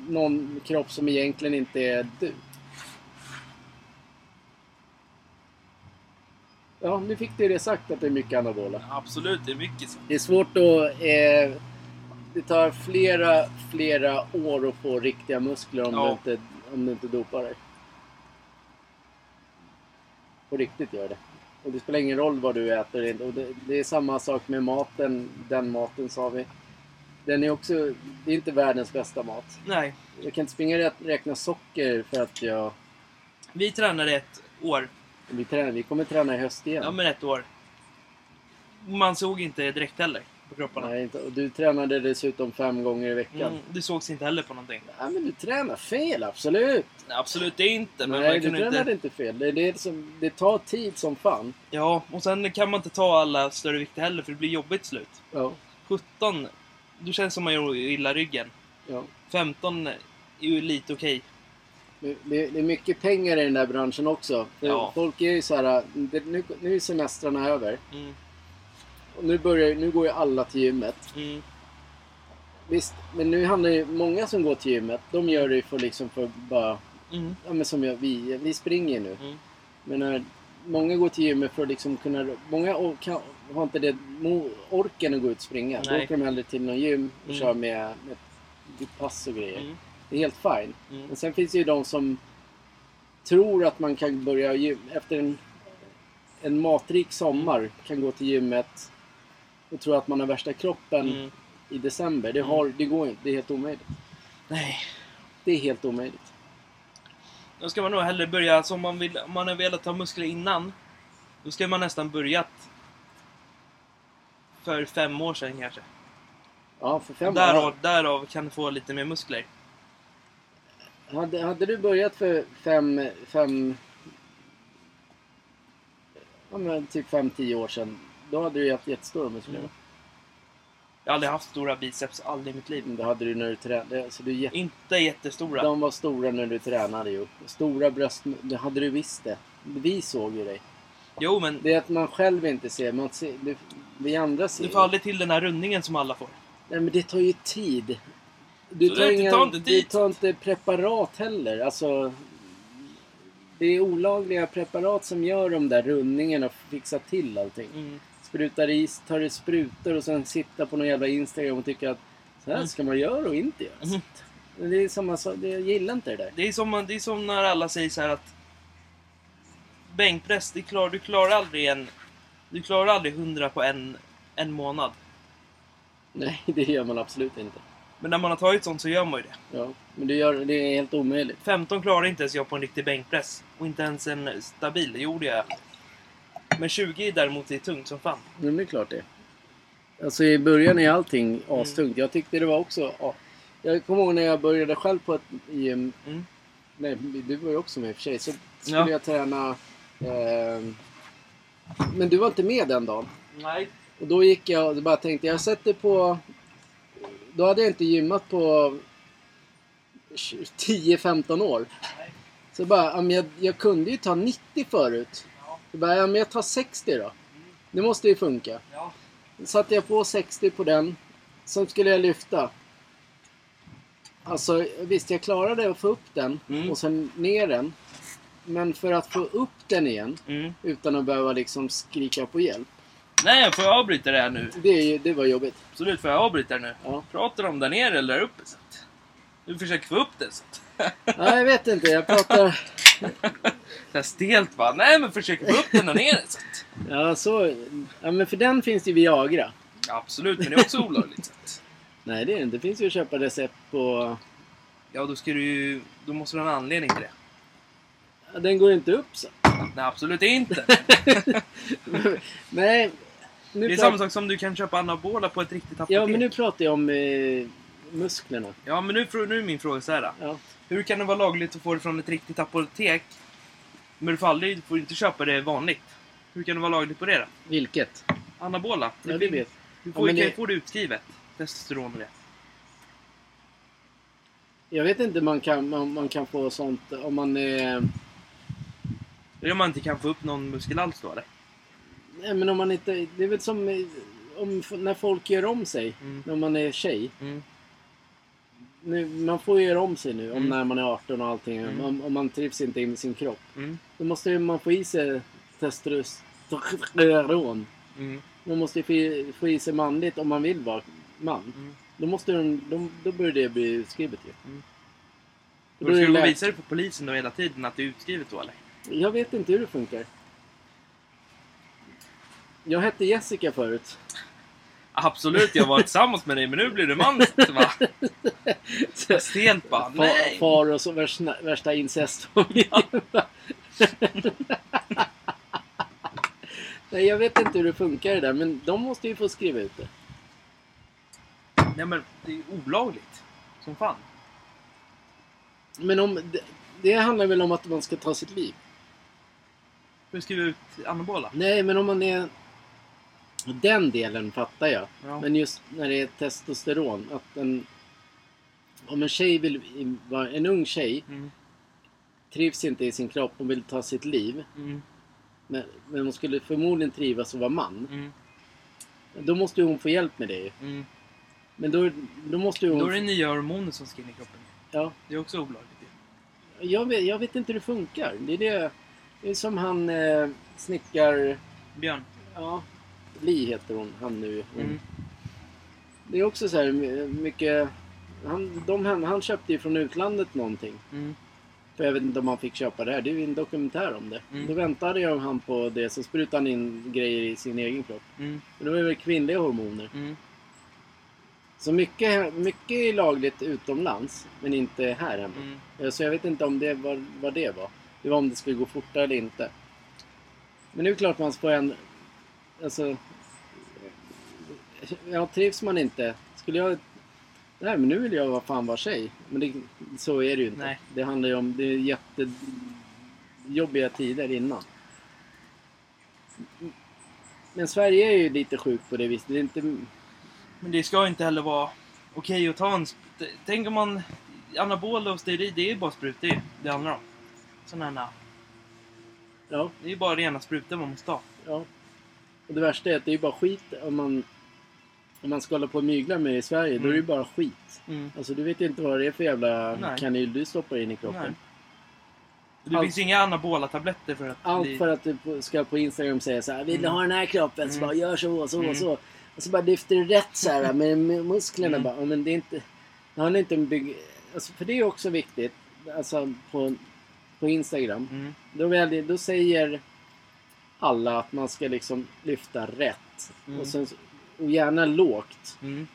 [SPEAKER 1] någon kropp som egentligen inte är du. Ja, nu fick du det sagt att det är mycket anabola.
[SPEAKER 2] Absolut, det är mycket så.
[SPEAKER 1] Det är svårt att... Eh, det tar flera, flera år att få riktiga muskler om,
[SPEAKER 2] Ja.
[SPEAKER 1] du, inte, om du inte dopar dig. På riktigt gör det. Och det spelar ingen roll vad du äter. Och det, det är samma sak med maten. Den maten sa vi. Den är också... Det är inte världens bästa mat.
[SPEAKER 2] Nej.
[SPEAKER 1] Jag kan inte springa och rä- räkna socker för att jag...
[SPEAKER 2] Vi tränade ett år.
[SPEAKER 1] Vi, tränar, vi kommer träna i höst igen.
[SPEAKER 2] Ja, men ett år. Man såg inte det direkt heller på kropparna.
[SPEAKER 1] Nej, inte, och du tränade dessutom fem gånger i veckan.
[SPEAKER 2] Mm, det sågs inte heller på någonting.
[SPEAKER 1] Ja, men du tränar fel, absolut!
[SPEAKER 2] Nej, absolut det är inte. Men
[SPEAKER 1] Nej, du
[SPEAKER 2] man kunde
[SPEAKER 1] tränade
[SPEAKER 2] inte...
[SPEAKER 1] inte fel. Det, är det, som, det tar tid som fan.
[SPEAKER 2] Ja, och sen kan man inte ta alla större vikter heller för det blir jobbigt till slut.
[SPEAKER 1] Ja.
[SPEAKER 2] 17, då känns det som man gör illa ryggen.
[SPEAKER 1] ja.
[SPEAKER 2] 15 är ju lite okej.
[SPEAKER 1] Det, det det är mycket pengar i den där branschen också. För
[SPEAKER 2] Ja.
[SPEAKER 1] Folk är ju så här, det, nu, nu är semestrarna över.
[SPEAKER 2] Mm,
[SPEAKER 1] Och nu, börjar, nu går ju alla till gymmet.
[SPEAKER 2] mm,
[SPEAKER 1] Visst, men nu handlar ju många som går till gymmet, de gör det ju för liksom för bara,
[SPEAKER 2] mm,
[SPEAKER 1] ja men som jag, vi, vi springer nu.
[SPEAKER 2] mm,
[SPEAKER 1] Men när många går till gymmet för att liksom kunna, många or- kan, har inte det mo- orken att gå ut och springa. Då
[SPEAKER 2] Nej.
[SPEAKER 1] åker de hellre till någon gym och
[SPEAKER 2] Mm.
[SPEAKER 1] kör med, med, med pass och grejer.
[SPEAKER 2] mm,
[SPEAKER 1] Det är helt fine.
[SPEAKER 2] mm,
[SPEAKER 1] Men sen finns det ju de som tror att man kan börja gym, efter en, en matrik
[SPEAKER 2] Mm.
[SPEAKER 1] sommar kan gå till gymmet och tro att man har värsta kroppen
[SPEAKER 2] mm.
[SPEAKER 1] i december. Det,
[SPEAKER 2] Mm.
[SPEAKER 1] har, det går inte. Det är helt omöjligt.
[SPEAKER 2] Nej.
[SPEAKER 1] Det är helt omöjligt.
[SPEAKER 2] Då ska man nog hellre börja, som man vill, om man har velat ta muskler innan, då ska man nästan börjat för fem år sedan kanske.
[SPEAKER 1] Ja, för fem
[SPEAKER 2] Därav, därav kan du få lite mer muskler.
[SPEAKER 1] Hade, hade du börjat för fem, fem ja, men typ fem, tio år sedan, då hade du ju haft jättestora muskler.
[SPEAKER 2] Mm. Jag har aldrig haft stora biceps, aldrig i mitt liv.
[SPEAKER 1] Det hade du när du tränade. Så du är jätte...
[SPEAKER 2] Inte jättestora.
[SPEAKER 1] De var stora när du tränade ju. Stora bröst, det hade du visst det. Vi såg ju dig.
[SPEAKER 2] Jo, men
[SPEAKER 1] Det är att man själv inte ser, man ser det, vi andra ser.
[SPEAKER 2] du får aldrig till den här rundningen som alla får.
[SPEAKER 1] Nej men det tar ju tid. Du
[SPEAKER 2] Så
[SPEAKER 1] tar,
[SPEAKER 2] det-
[SPEAKER 1] ingen,
[SPEAKER 2] ta inte
[SPEAKER 1] du
[SPEAKER 2] dit.
[SPEAKER 1] tar inte preparat heller. Alltså, det är olagliga preparat som gör de där rundningarna och fixar till allting.
[SPEAKER 2] Mm.
[SPEAKER 1] Sprutar i, tar i sprutor och sen sitter på någon jävla Instagram och tycker att så här ska man göra och inte göra.
[SPEAKER 2] Mm.
[SPEAKER 1] Men Det är samma sak, det- jag gillar inte det där.
[SPEAKER 2] Det är, som, det är som när alla säger så här att bänkpress, det klar, du klarar aldrig en... Du klarar aldrig 100 på en, en månad.
[SPEAKER 1] Nej, det gör man absolut inte.
[SPEAKER 2] Men när man har tagit sånt så gör man ju det.
[SPEAKER 1] Ja, men det, gör, det är helt omöjligt.
[SPEAKER 2] 15 klarar inte ens jag på en riktig bänkpress. Och inte ens en stabil, det gjorde jag. Men 20 däremot är tungt som fan.
[SPEAKER 1] Men det är klart det. Alltså i början är allting astungt. Jag tyckte det var också... ja, Jag kommer ihåg när jag började själv på ett gym.
[SPEAKER 2] Mm.
[SPEAKER 1] Nej, du var ju också med i och för sig. Så skulle
[SPEAKER 2] Ja.
[SPEAKER 1] jag träna... ehm, men du var inte med den dagen.
[SPEAKER 2] Nej.
[SPEAKER 1] Och då gick jag och bara tänkte, jag sätter på... Då hade jag inte gymmat på 10-15 år.
[SPEAKER 2] Nej.
[SPEAKER 1] Så bara, ja, men jag, jag kunde ju ta 90 förut.
[SPEAKER 2] Ja.
[SPEAKER 1] Så bara, ja, men jag tar 60 då. Det måste ju funka.
[SPEAKER 2] Ja.
[SPEAKER 1] satte jag på 60 på den. Sen skulle jag lyfta. Alltså visst, jag klarade att få upp den
[SPEAKER 2] Mm.
[SPEAKER 1] och sen ner den. Men för att få upp den igen
[SPEAKER 2] Mm.
[SPEAKER 1] utan att behöva liksom skrika på hjälp.
[SPEAKER 2] Nej, får jag avbryta det här nu?
[SPEAKER 1] Det, är ju- det var jobbigt.
[SPEAKER 2] Absolut, får jag avbryta det nu?
[SPEAKER 1] Ja.
[SPEAKER 2] Pratar de där nere eller där uppe? Så att... Du försöker få upp det så att...
[SPEAKER 1] Nej, jag vet inte. Jag pratar...
[SPEAKER 2] Så här stelt bara. Nej, men försöker få upp den där nere så att...
[SPEAKER 1] Ja, så... Ja, men för den finns ju Viagra.
[SPEAKER 2] Ja, absolut, men det är också olagligt. Så att...
[SPEAKER 1] Nej, det är det inte. Det finns ju att köpa recept på...
[SPEAKER 2] Ja, då ska du ju... Då måste du ha en anledning till det.
[SPEAKER 1] Ja, Den går ju inte upp så.
[SPEAKER 2] Nej, absolut inte.
[SPEAKER 1] Nej. Nu
[SPEAKER 2] Det är
[SPEAKER 1] pratar-
[SPEAKER 2] samma sak som du kan köpa anabola på ett riktigt apotek.
[SPEAKER 1] Ja, men nu pratar jag om eh, musklerna.
[SPEAKER 2] ja, men nu, frå- nu är min fråga så här.
[SPEAKER 1] Ja.
[SPEAKER 2] Hur kan det vara lagligt att få det från ett riktigt apotek? Men du får aldrig, du får inte köpa det vanligt. Hur kan det vara lagligt på det då?
[SPEAKER 1] Vilket?
[SPEAKER 2] Anabola.
[SPEAKER 1] Ja, det
[SPEAKER 2] finns-
[SPEAKER 1] vet
[SPEAKER 2] Du
[SPEAKER 1] Ja,
[SPEAKER 2] får,
[SPEAKER 1] men
[SPEAKER 2] ju-
[SPEAKER 1] det-
[SPEAKER 2] kan få det utskrivet. Testosteron och det.
[SPEAKER 1] Jag vet inte man kan, man, man kan få sånt om man är...
[SPEAKER 2] Det är om man inte kan få upp någon muskel alls då eller?
[SPEAKER 1] Nej men om man inte... Det är väl som eh, om, f- när folk gör om sig.
[SPEAKER 2] Mm.
[SPEAKER 1] När man är tjej.
[SPEAKER 2] Mm.
[SPEAKER 1] Nu, man får ju göra om sig nu om
[SPEAKER 2] Mm.
[SPEAKER 1] när man är 18 och allting.
[SPEAKER 2] Mm.
[SPEAKER 1] Om, om man trivs inte i sin kropp.
[SPEAKER 2] Mm.
[SPEAKER 1] Då måste ju man få i sig testosteron.
[SPEAKER 2] Mm.
[SPEAKER 1] Man måste ju få i- få i sig manligt om man vill vara man.
[SPEAKER 2] Mm.
[SPEAKER 1] Då, måste de, de, då börjar det bli utskrivet ju.
[SPEAKER 2] Mm.
[SPEAKER 1] Då
[SPEAKER 2] Och du
[SPEAKER 1] är
[SPEAKER 2] ska
[SPEAKER 1] det
[SPEAKER 2] gå och
[SPEAKER 1] lä-
[SPEAKER 2] visa det för polisen då hela tiden att det är utskrivet då eller?
[SPEAKER 1] Jag vet inte hur det funkar. Jag hette Jessica förut.
[SPEAKER 2] Absolut, jag var tillsammans med dig men nu blir du man va?
[SPEAKER 1] Så-
[SPEAKER 2] Stelt bara.
[SPEAKER 1] Far,
[SPEAKER 2] Nej!
[SPEAKER 1] far och så värsta, värsta incestfamiljen. Nej, jag vet inte hur det funkar det där, men de måste ju få skriva ut det.
[SPEAKER 2] Nej men det är ju olagligt. Som fan.
[SPEAKER 1] Men om, det, det handlar väl om att man ska ta sitt liv?
[SPEAKER 2] Hur skriver ut anabola?
[SPEAKER 1] Nej, men om man är... Den delen fattar jag.
[SPEAKER 2] Ja.
[SPEAKER 1] Men just när det är testosteron, att en... Om en tjej vill... vara- En ung tjej
[SPEAKER 2] Mm.
[SPEAKER 1] trivs inte i sin kropp, hon vill ta sitt liv.
[SPEAKER 2] Mm.
[SPEAKER 1] Men, men hon skulle förmodligen trivas att vara man.
[SPEAKER 2] Mm.
[SPEAKER 1] Då måste ju hon få hjälp med det ju.
[SPEAKER 2] Mm.
[SPEAKER 1] Men då, då måste ju hon...
[SPEAKER 2] Då är det nya hormoner som ska in i kroppen.
[SPEAKER 1] ja,
[SPEAKER 2] Det är också olagligt ju.
[SPEAKER 1] jag, vet, jag vet inte hur det funkar. Det är, det, det är som han eh, snickar...
[SPEAKER 2] Björn.
[SPEAKER 1] Ja, Li heter hon, han nu. Hon.
[SPEAKER 2] Mm.
[SPEAKER 1] Det är också så här my- mycket... Han, de, han, han köpte ju från utlandet någonting.
[SPEAKER 2] Mm.
[SPEAKER 1] För jag vet inte om han fick köpa det här. Det är ju en dokumentär om det.
[SPEAKER 2] Mm.
[SPEAKER 1] Då väntade jag han på det, så sprutade han in grejer i sin egen kropp.
[SPEAKER 2] Mm.
[SPEAKER 1] Men det var ju väl kvinnliga hormoner.
[SPEAKER 2] Mm.
[SPEAKER 1] Så mycket, mycket är lagligt utomlands, men inte här hemma.
[SPEAKER 2] Mm.
[SPEAKER 1] Eh, Så jag vet inte om det var, vad det var. Det var om det skulle gå fortare eller inte. Men det är klart man får en... Alltså... Ja, trivs man inte. Skulle jag... Nej, men nu vill jag vara fan vara tjej. Men det, så är det ju inte.
[SPEAKER 2] Nej.
[SPEAKER 1] Det handlar ju om... Det är jättejobbiga tider innan. Men Sverige är ju lite sjukt på det viset. Det är inte...
[SPEAKER 2] Men det ska inte heller vara okej att ta en... sp- Tänk om man... Anabola och steroid, det är ju bara sprutor ju. Det handlar om. Sådana här...
[SPEAKER 1] Ja,
[SPEAKER 2] Det är ju bara rena sprutor man måste ha.
[SPEAKER 1] ja. Och det värsta är att det är ju bara skit om man... om man ska hålla på och mygla med det i Sverige, då är det ju
[SPEAKER 2] Mm.
[SPEAKER 1] bara skit.
[SPEAKER 2] Mm.
[SPEAKER 1] Alltså du vet ju inte vad det är för jävla
[SPEAKER 2] Nej.
[SPEAKER 1] kanyl du stoppar in i kroppen.
[SPEAKER 2] Nej. Det
[SPEAKER 1] Allt-
[SPEAKER 2] finns inga anabola-tabletter för att bli-
[SPEAKER 1] Allt för att du på- ska på Instagram säga så här, vill du
[SPEAKER 2] Mm.
[SPEAKER 1] ha den här kroppen? Så
[SPEAKER 2] Mm.
[SPEAKER 1] bara, gör så och så
[SPEAKER 2] Mm.
[SPEAKER 1] och så. Och så bara lyfter du rätt så här med med musklerna
[SPEAKER 2] Mm.
[SPEAKER 1] bara. Ja, men det är inte... Det handlar inte om bygg... Alltså, för det är också viktigt. Alltså på, på Instagram.
[SPEAKER 2] Mm.
[SPEAKER 1] Då, väljer, då säger alla att man ska liksom lyfta rätt.
[SPEAKER 2] Mm.
[SPEAKER 1] Och, sen, och gärna lågt.
[SPEAKER 2] Mm.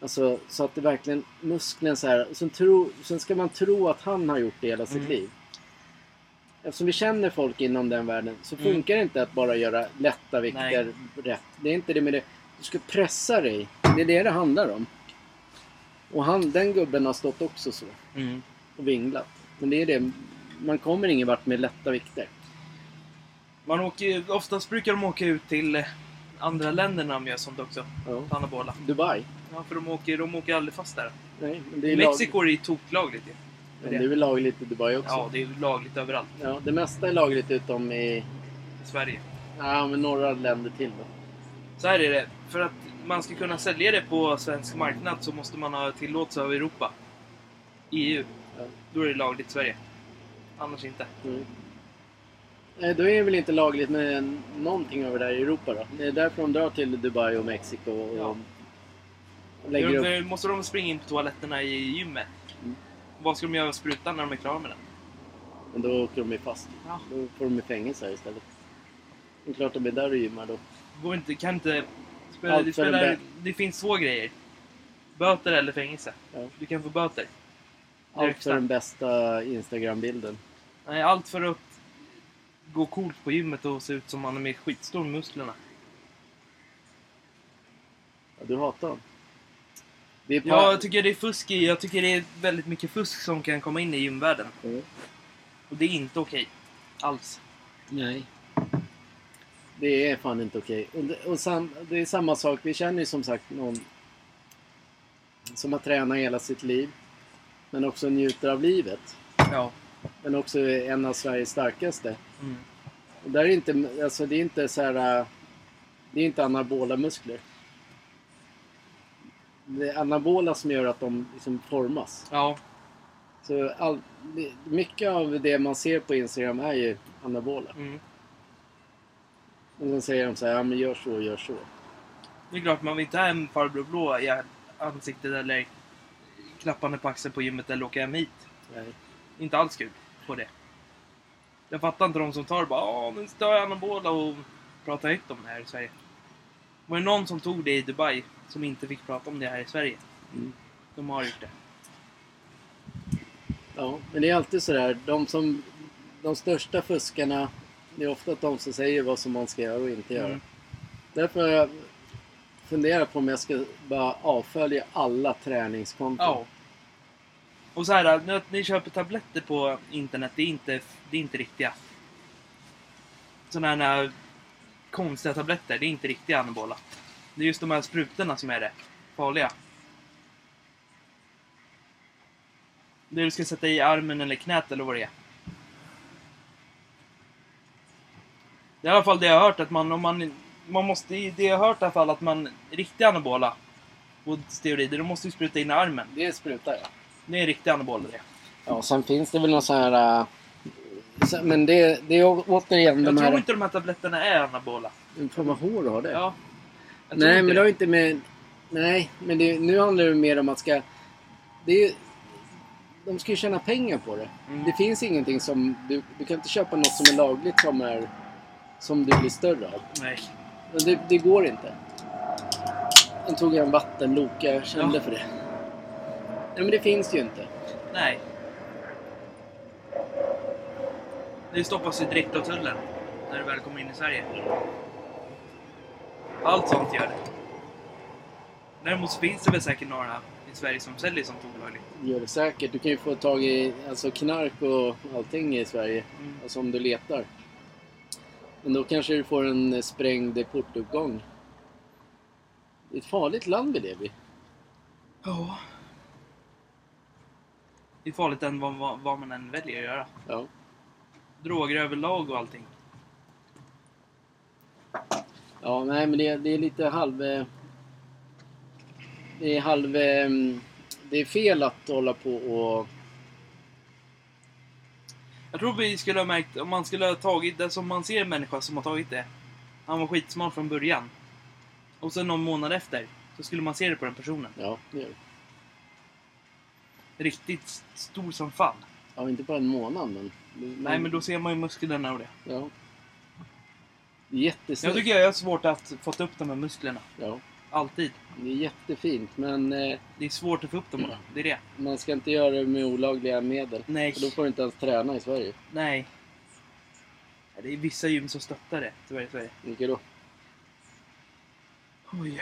[SPEAKER 1] Alltså så att det verkligen muskeln så här. Och sen, tro, sen ska man tro att han har gjort det hela sitt
[SPEAKER 2] Mm.
[SPEAKER 1] liv. Eftersom vi känner folk inom den världen så
[SPEAKER 2] Mm.
[SPEAKER 1] funkar det inte att bara göra lätta vikter rätt. Det är inte det med det. Du ska pressa dig. Det är det det handlar om. Och han, den gubben har stått också så
[SPEAKER 2] Mm.
[SPEAKER 1] och vinglat. Men det är det. Man kommer ingen vart med lätta vikter.
[SPEAKER 2] Man åker ju, oftast brukar de åka ut till eh, andra länder när de gör sånt också.
[SPEAKER 1] Ja.
[SPEAKER 2] på Anabola.
[SPEAKER 1] Dubai.
[SPEAKER 2] Ja, för de åker, de åker aldrig fast där.
[SPEAKER 1] Nej, men det är
[SPEAKER 2] Mexiko är ju toklagligt ju.
[SPEAKER 1] Lag, men det är väl lagligt i Dubai också?
[SPEAKER 2] Ja, det är ju lagligt överallt.
[SPEAKER 1] Ja, det mesta är lagligt utom i
[SPEAKER 2] I Sverige.
[SPEAKER 1] ja, men några länder till. Då.
[SPEAKER 2] Så här är det. För att man ska kunna sälja det på svensk marknad så måste man ha tillåtelse av Europa. EU.
[SPEAKER 1] Ja.
[SPEAKER 2] Då är det lagligt i Sverige. Annars inte.
[SPEAKER 1] Mm. Eh, Då är det väl inte lagligt med någonting över där i Europa då? Det är därför de drar till Dubai och Mexiko och
[SPEAKER 2] Ja.
[SPEAKER 1] lägger upp.
[SPEAKER 2] Nu måste de springa in på toaletterna i gymmet.
[SPEAKER 1] Mm.
[SPEAKER 2] Vad ska de göra med sprutan när de är klara med den?
[SPEAKER 1] Men då åker de ju fast.
[SPEAKER 2] Ja.
[SPEAKER 1] Då får de ju fängelse här istället. Det är klart de är där och gymmar då.
[SPEAKER 2] Det går inte, kan inte... Spela,
[SPEAKER 1] Allt
[SPEAKER 2] det,
[SPEAKER 1] för en
[SPEAKER 2] spelar,
[SPEAKER 1] bä-
[SPEAKER 2] det finns två grejer. Böter eller fängelse.
[SPEAKER 1] Ja.
[SPEAKER 2] Du kan få böter.
[SPEAKER 1] Allt
[SPEAKER 2] Direkt
[SPEAKER 1] för den bästa Instagram-bilden.
[SPEAKER 2] Nej, allt för att gå coolt på gymmet och se ut som man är med skitstor med musklerna.
[SPEAKER 1] Ja, du hatar dem. Det är pa-
[SPEAKER 2] Ja, jag tycker det är fusk i, jag tycker det är väldigt mycket fusk som kan komma in i gymvärlden.
[SPEAKER 1] Mm.
[SPEAKER 2] Och det är inte okej. Alls.
[SPEAKER 1] Nej. Det är fan inte okej. Och, det- och sam, det är samma sak, vi känner ju som sagt någon som har tränat hela sitt liv. Men också njuter av livet.
[SPEAKER 2] Ja.
[SPEAKER 1] Men också är en av Sveriges starkaste.
[SPEAKER 2] Mm.
[SPEAKER 1] Och där är inte, alltså det är inte så här... äh, Det är inte anabola muskler. Det är anabola som gör att de liksom formas.
[SPEAKER 2] Ja.
[SPEAKER 1] Så all, det- mycket av det man ser på Instagram är ju anabola.
[SPEAKER 2] Mm.
[SPEAKER 1] Och sen säger de så här, ja men gör så, gör så.
[SPEAKER 2] Det är klart, man vill inte ha en farbror blå i ansiktet eller klappande på axeln på gymmet eller åka hem hit.
[SPEAKER 1] Nej.
[SPEAKER 2] Inte alls kul på det. Jag fattar inte de som tar bara Åh, men stör jag anabola och pratar högt om det här i Sverige. Var det någon som tog det i Dubai som inte fick prata om det här i Sverige?
[SPEAKER 1] Mm.
[SPEAKER 2] De har gjort det.
[SPEAKER 1] Ja, men det är alltid så där, de som, de största fuskarna, det är ofta de som säger vad som man ska göra och inte göra.
[SPEAKER 2] Mm.
[SPEAKER 1] Därför har jag funderat på om jag ska bara avfölja alla träningskonton.
[SPEAKER 2] Ja. Och så här, nu att ni köper tabletter på internet, det är inte, det är inte riktiga. Sådana här äh, konstiga tabletter, det är inte riktiga anabola. Det är just de här sprutorna som är det farliga. Det du ska sätta i armen eller knät eller vad det är. Det är i alla fall det jag har hört att man, om man, man måste, det jag har hört i alla fall att man, riktiga anabola och steroider, de måste ju spruta in i armen.
[SPEAKER 1] Det sprutar jag.
[SPEAKER 2] Det är riktiga anabola det.
[SPEAKER 1] Ja, sen finns det väl någon så här... äh, så- Men det, det är å- återigen
[SPEAKER 2] Jag
[SPEAKER 1] de
[SPEAKER 2] tror
[SPEAKER 1] här...
[SPEAKER 2] inte de här tabletterna är anabola.
[SPEAKER 1] Fan vad hår du har det.
[SPEAKER 2] Ja. Jag tror
[SPEAKER 1] Nej, men det har
[SPEAKER 2] det.
[SPEAKER 1] ju inte med... Nej, men det, nu handlar det mer om att ska... Det är ju... De ska ju tjäna pengar på det.
[SPEAKER 2] Mm.
[SPEAKER 1] Det finns ingenting som... Du, du kan inte köpa något som är lagligt som är... Som du blir större av.
[SPEAKER 2] Nej.
[SPEAKER 1] Men Det, det går inte. Nu tog jag en vattenloka. Jag kände
[SPEAKER 2] Ja.
[SPEAKER 1] för det. Nej, men det finns ju inte.
[SPEAKER 2] Nej. Det stoppas ju direkt av tullen när du väl kommer in i Sverige. Allt sånt gör det. Däremot så finns det väl säkert några i Sverige som säljer sånt olagligt.
[SPEAKER 1] Det gör det säkert. Du kan ju få tag i alltså, knark och allting i Sverige.
[SPEAKER 2] Mm.
[SPEAKER 1] Alltså om du letar. Men då kanske du får en eh, sprängd portuppgång. Det är ett farligt land vi lever i.
[SPEAKER 2] Ja. Det är farligt än vad, vad, vad man än väljer att göra.
[SPEAKER 1] Ja.
[SPEAKER 2] Droger överlag och allting.
[SPEAKER 1] ja, nej men det, det är lite halv... eh, det är halv... eh, Det är fel att hålla på och...
[SPEAKER 2] Jag tror vi skulle ha märkt, om man skulle ha tagit det som man ser en människa som har tagit det. Han var skitsmart från början. Och sen någon månad efter, så skulle man se det på den personen.
[SPEAKER 1] Ja, det gör det.
[SPEAKER 2] Riktigt stor som fan.
[SPEAKER 1] Ja, inte på en månad men...
[SPEAKER 2] Nej, men då ser man ju musklerna och det.
[SPEAKER 1] Ja.
[SPEAKER 2] Jag
[SPEAKER 1] Jättesnyggt.
[SPEAKER 2] tycker jag har svårt att få upp de här musklerna.
[SPEAKER 1] Ja,
[SPEAKER 2] Alltid.
[SPEAKER 1] det är jättefint men eh,
[SPEAKER 2] Det är svårt att få upp dem bara. Det är det.
[SPEAKER 1] man ska inte göra det med olagliga medel.
[SPEAKER 2] Nej.
[SPEAKER 1] För då får du inte ens träna i Sverige.
[SPEAKER 2] Nej. Ja, Det är vissa gym som stöttar det, tyvärr i Sverige.
[SPEAKER 1] Vilka då?
[SPEAKER 2] Oj.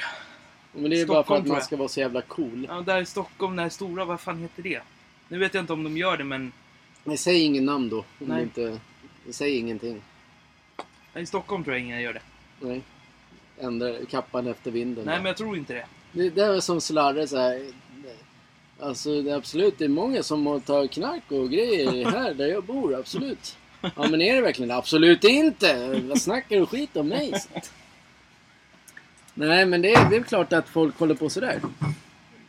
[SPEAKER 1] Men det är bara för
[SPEAKER 2] Stockholm,
[SPEAKER 1] att
[SPEAKER 2] tror
[SPEAKER 1] man
[SPEAKER 2] jag.
[SPEAKER 1] ska vara så jävla cool.
[SPEAKER 2] Ja, där i Stockholm, det här stora, vad fan heter det? Nu vet jag inte om de gör det, men
[SPEAKER 1] Nej, säg ingen namn då. Om
[SPEAKER 2] Nej.
[SPEAKER 1] du inte... Säg ingenting.
[SPEAKER 2] i Stockholm tror jag ingen gör det.
[SPEAKER 1] Nej. Ändra kappan efter vinden.
[SPEAKER 2] Nej,
[SPEAKER 1] då.
[SPEAKER 2] men jag tror inte det.
[SPEAKER 1] Det, det är som slarre så här. Alltså det är absolut, det är många som tar knark och grejer här där jag bor, absolut. Ja men är det verkligen det? Absolut inte! Vad snackar du skit om mig? Nej men det är, det är klart att folk håller på sådär.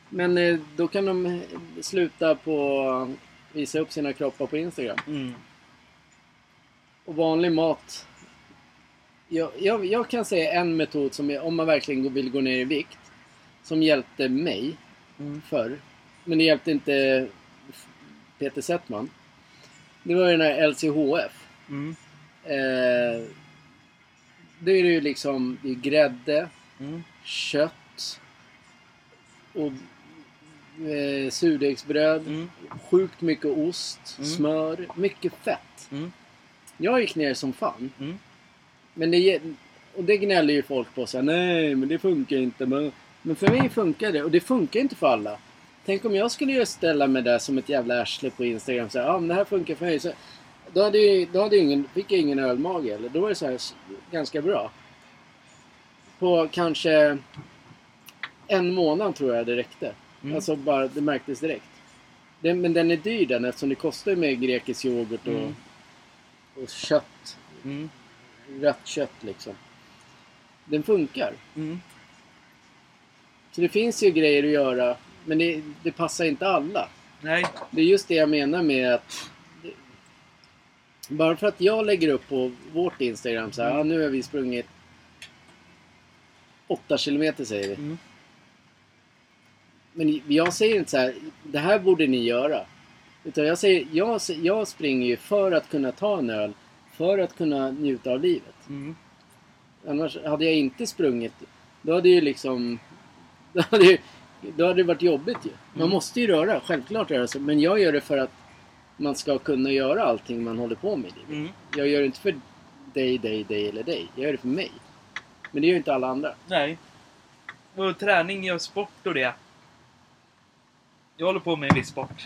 [SPEAKER 1] Men eh, då kan de eh, sluta på visa upp sina kroppar på Instagram.
[SPEAKER 2] Mm.
[SPEAKER 1] Och vanlig mat. Jag, jag, jag kan säga en metod som, är, om man verkligen vill gå ner i vikt, som hjälpte mig
[SPEAKER 2] Mm.
[SPEAKER 1] förr. Men det hjälpte inte Peter Settman. Det var ju den här LCHF.
[SPEAKER 2] Mm.
[SPEAKER 1] Eh, det är ju liksom det är grädde,
[SPEAKER 2] Mm.
[SPEAKER 1] kött och eh, surdegsbröd.
[SPEAKER 2] Mm.
[SPEAKER 1] Sjukt mycket ost,
[SPEAKER 2] Mm.
[SPEAKER 1] smör, mycket fett.
[SPEAKER 2] Mm.
[SPEAKER 1] Jag gick ner som fan.
[SPEAKER 2] Mm.
[SPEAKER 1] Men det, ge- och det gnäller ju folk på. Så här, Nej, men det funkar inte. Men, men för mig funkar det. Och det funkar inte för alla. Tänk om jag skulle ju ställa mig där som ett jävla arsle på Instagram. Så här, ah, men det här funkar för mig. Så, då hade, ju, då hade ju ingen, fick jag ingen ölmage. Eller? Då var det så här, s- ganska bra. På kanske en månad tror jag det räckte.
[SPEAKER 2] Mm.
[SPEAKER 1] Alltså bara, det märktes direkt. Den, men den är dyr den eftersom det kostar ju med grekisk yoghurt och,
[SPEAKER 2] Mm.
[SPEAKER 1] och kött.
[SPEAKER 2] Mm.
[SPEAKER 1] Rött kött liksom. Den funkar.
[SPEAKER 2] Mm.
[SPEAKER 1] Så det finns ju grejer att göra. Men det, det passar inte alla.
[SPEAKER 2] Nej.
[SPEAKER 1] Det är just det jag menar med att... Bara för att jag lägger upp på vårt Instagram så här,
[SPEAKER 2] Mm.
[SPEAKER 1] ah, nu har vi sprungit 8 kilometer säger vi.
[SPEAKER 2] Mm.
[SPEAKER 1] Men jag säger inte så här, det här borde ni göra. Utan jag säger, jag, jag springer ju för att kunna ta en öl, för att kunna njuta av livet.
[SPEAKER 2] Mm.
[SPEAKER 1] Annars hade jag inte sprungit, då hade ju liksom... Då hade, ju, då hade det varit jobbigt ju.
[SPEAKER 2] Mm.
[SPEAKER 1] Man måste ju röra, självklart röra sig. Men jag gör det för att man ska kunna göra allting man håller på med. i livet.
[SPEAKER 2] Mm.
[SPEAKER 1] Jag gör det inte för dig, dig, dig eller dig. Jag gör det för mig. Men det gör ju inte alla andra.
[SPEAKER 2] Nej. Och träning och sport och det. Jag håller på med en viss sport.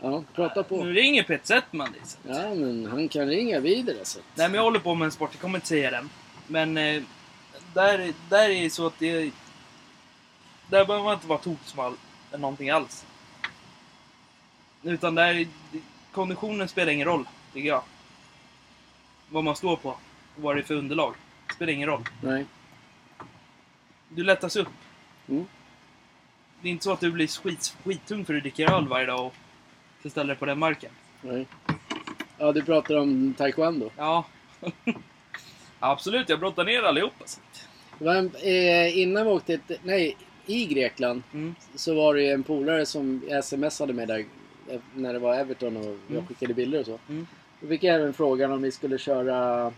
[SPEAKER 1] Ja, prata på.
[SPEAKER 2] Nu ringer Peter Settman liksom.
[SPEAKER 1] Ja, men han kan ringa vidare alltså.
[SPEAKER 2] Nej men jag håller på med en sport, jag kommer inte säga den. Men eh, där, där är det så att det... Där behöver man inte vara toksmal eller någonting alls. Utan där... Konditionen spelar ingen roll, tycker jag. Vad man står på och vad det är för underlag. Spelar ingen roll.
[SPEAKER 1] Nej.
[SPEAKER 2] Du lättas upp.
[SPEAKER 1] Mm.
[SPEAKER 2] Det är inte så att du blir skit, skittung för att du dricker öl varje dag och så ställer dig på den marken.
[SPEAKER 1] Nej. Ja, du pratar om taekwondo.
[SPEAKER 2] Ja. Absolut, jag brottar ner allihop alltså.
[SPEAKER 1] Det var en, eh, innan vi åkte till, nej, i Grekland
[SPEAKER 2] Mm.
[SPEAKER 1] så var det ju en polare som jag smsade med där eh, när det var Everton och jag
[SPEAKER 2] Mm.
[SPEAKER 1] skickade bilder och så.
[SPEAKER 2] Mm.
[SPEAKER 1] Då fick jag även frågan om vi skulle köra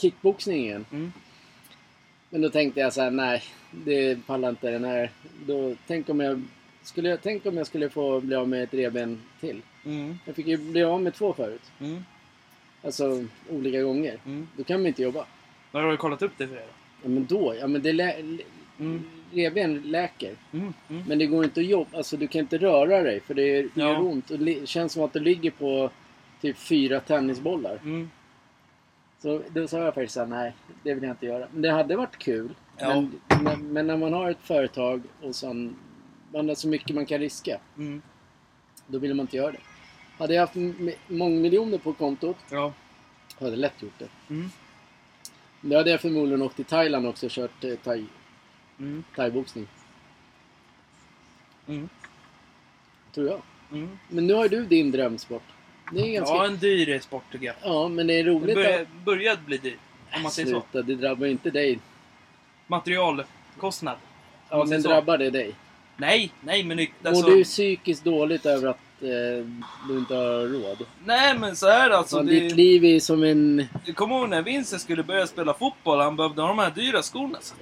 [SPEAKER 1] kickboxning igen.
[SPEAKER 2] Mm.
[SPEAKER 1] Men då tänkte jag så här, nej, det pallar inte den här. Då, tänk, om jag, skulle jag, tänk om jag skulle få bli av med ett revben till.
[SPEAKER 2] Mm.
[SPEAKER 1] Jag fick ju bli av med två förut.
[SPEAKER 2] Mm.
[SPEAKER 1] Alltså olika gånger.
[SPEAKER 2] Mm.
[SPEAKER 1] Då kan man inte jobba.
[SPEAKER 2] Vad har du kollat upp det för? er då?
[SPEAKER 1] Ja, men då, ja men det lä- lä-
[SPEAKER 2] Mm.
[SPEAKER 1] revben läker.
[SPEAKER 2] Mm. Mm.
[SPEAKER 1] Men det går inte att jobba, alltså du kan inte röra dig för det gör
[SPEAKER 2] Ja.
[SPEAKER 1] ont. Och li- känns som att du ligger på typ fyra tennisbollar.
[SPEAKER 2] Mm.
[SPEAKER 1] Så då sa jag faktiskt såhär, nej det vill jag inte göra. Men det hade varit kul.
[SPEAKER 2] Ja.
[SPEAKER 1] Men, men, men när man har ett företag och sen, man har så mycket man kan riska.
[SPEAKER 2] Mm.
[SPEAKER 1] Då vill man inte göra det. Hade jag haft m- mångmiljoner på kontot
[SPEAKER 2] Ja.
[SPEAKER 1] hade jag lätt gjort det.
[SPEAKER 2] Mm.
[SPEAKER 1] Då hade jag förmodligen åkt till Thailand också och kört eh, thai-
[SPEAKER 2] Mm.
[SPEAKER 1] thaiboxning.
[SPEAKER 2] Mm.
[SPEAKER 1] Tror jag.
[SPEAKER 2] Mm.
[SPEAKER 1] Men nu har ju du din drömsport. Det är ganska...
[SPEAKER 2] Ja,
[SPEAKER 1] Ja,
[SPEAKER 2] en dyr sport tycker jag.
[SPEAKER 1] men det är
[SPEAKER 2] Det
[SPEAKER 1] roligt
[SPEAKER 2] börjar, börjar bli dyr.
[SPEAKER 1] att...
[SPEAKER 2] Om man säger så.
[SPEAKER 1] Sluta, det drabbar inte dig.
[SPEAKER 2] Materialkostnad. Om
[SPEAKER 1] Ja,
[SPEAKER 2] man säger
[SPEAKER 1] men
[SPEAKER 2] så.
[SPEAKER 1] drabbar det dig?
[SPEAKER 2] Nej, nej men det,
[SPEAKER 1] Mår
[SPEAKER 2] alltså,
[SPEAKER 1] du psykiskt dåligt över att eh, du inte har råd?
[SPEAKER 2] Nej men så är det alltså.
[SPEAKER 1] Fan,
[SPEAKER 2] det,
[SPEAKER 1] Ditt liv är som en...
[SPEAKER 2] Jag kommer ihåg när Vincent skulle börja spela fotboll, han behövde ha de här dyra skorna. Så.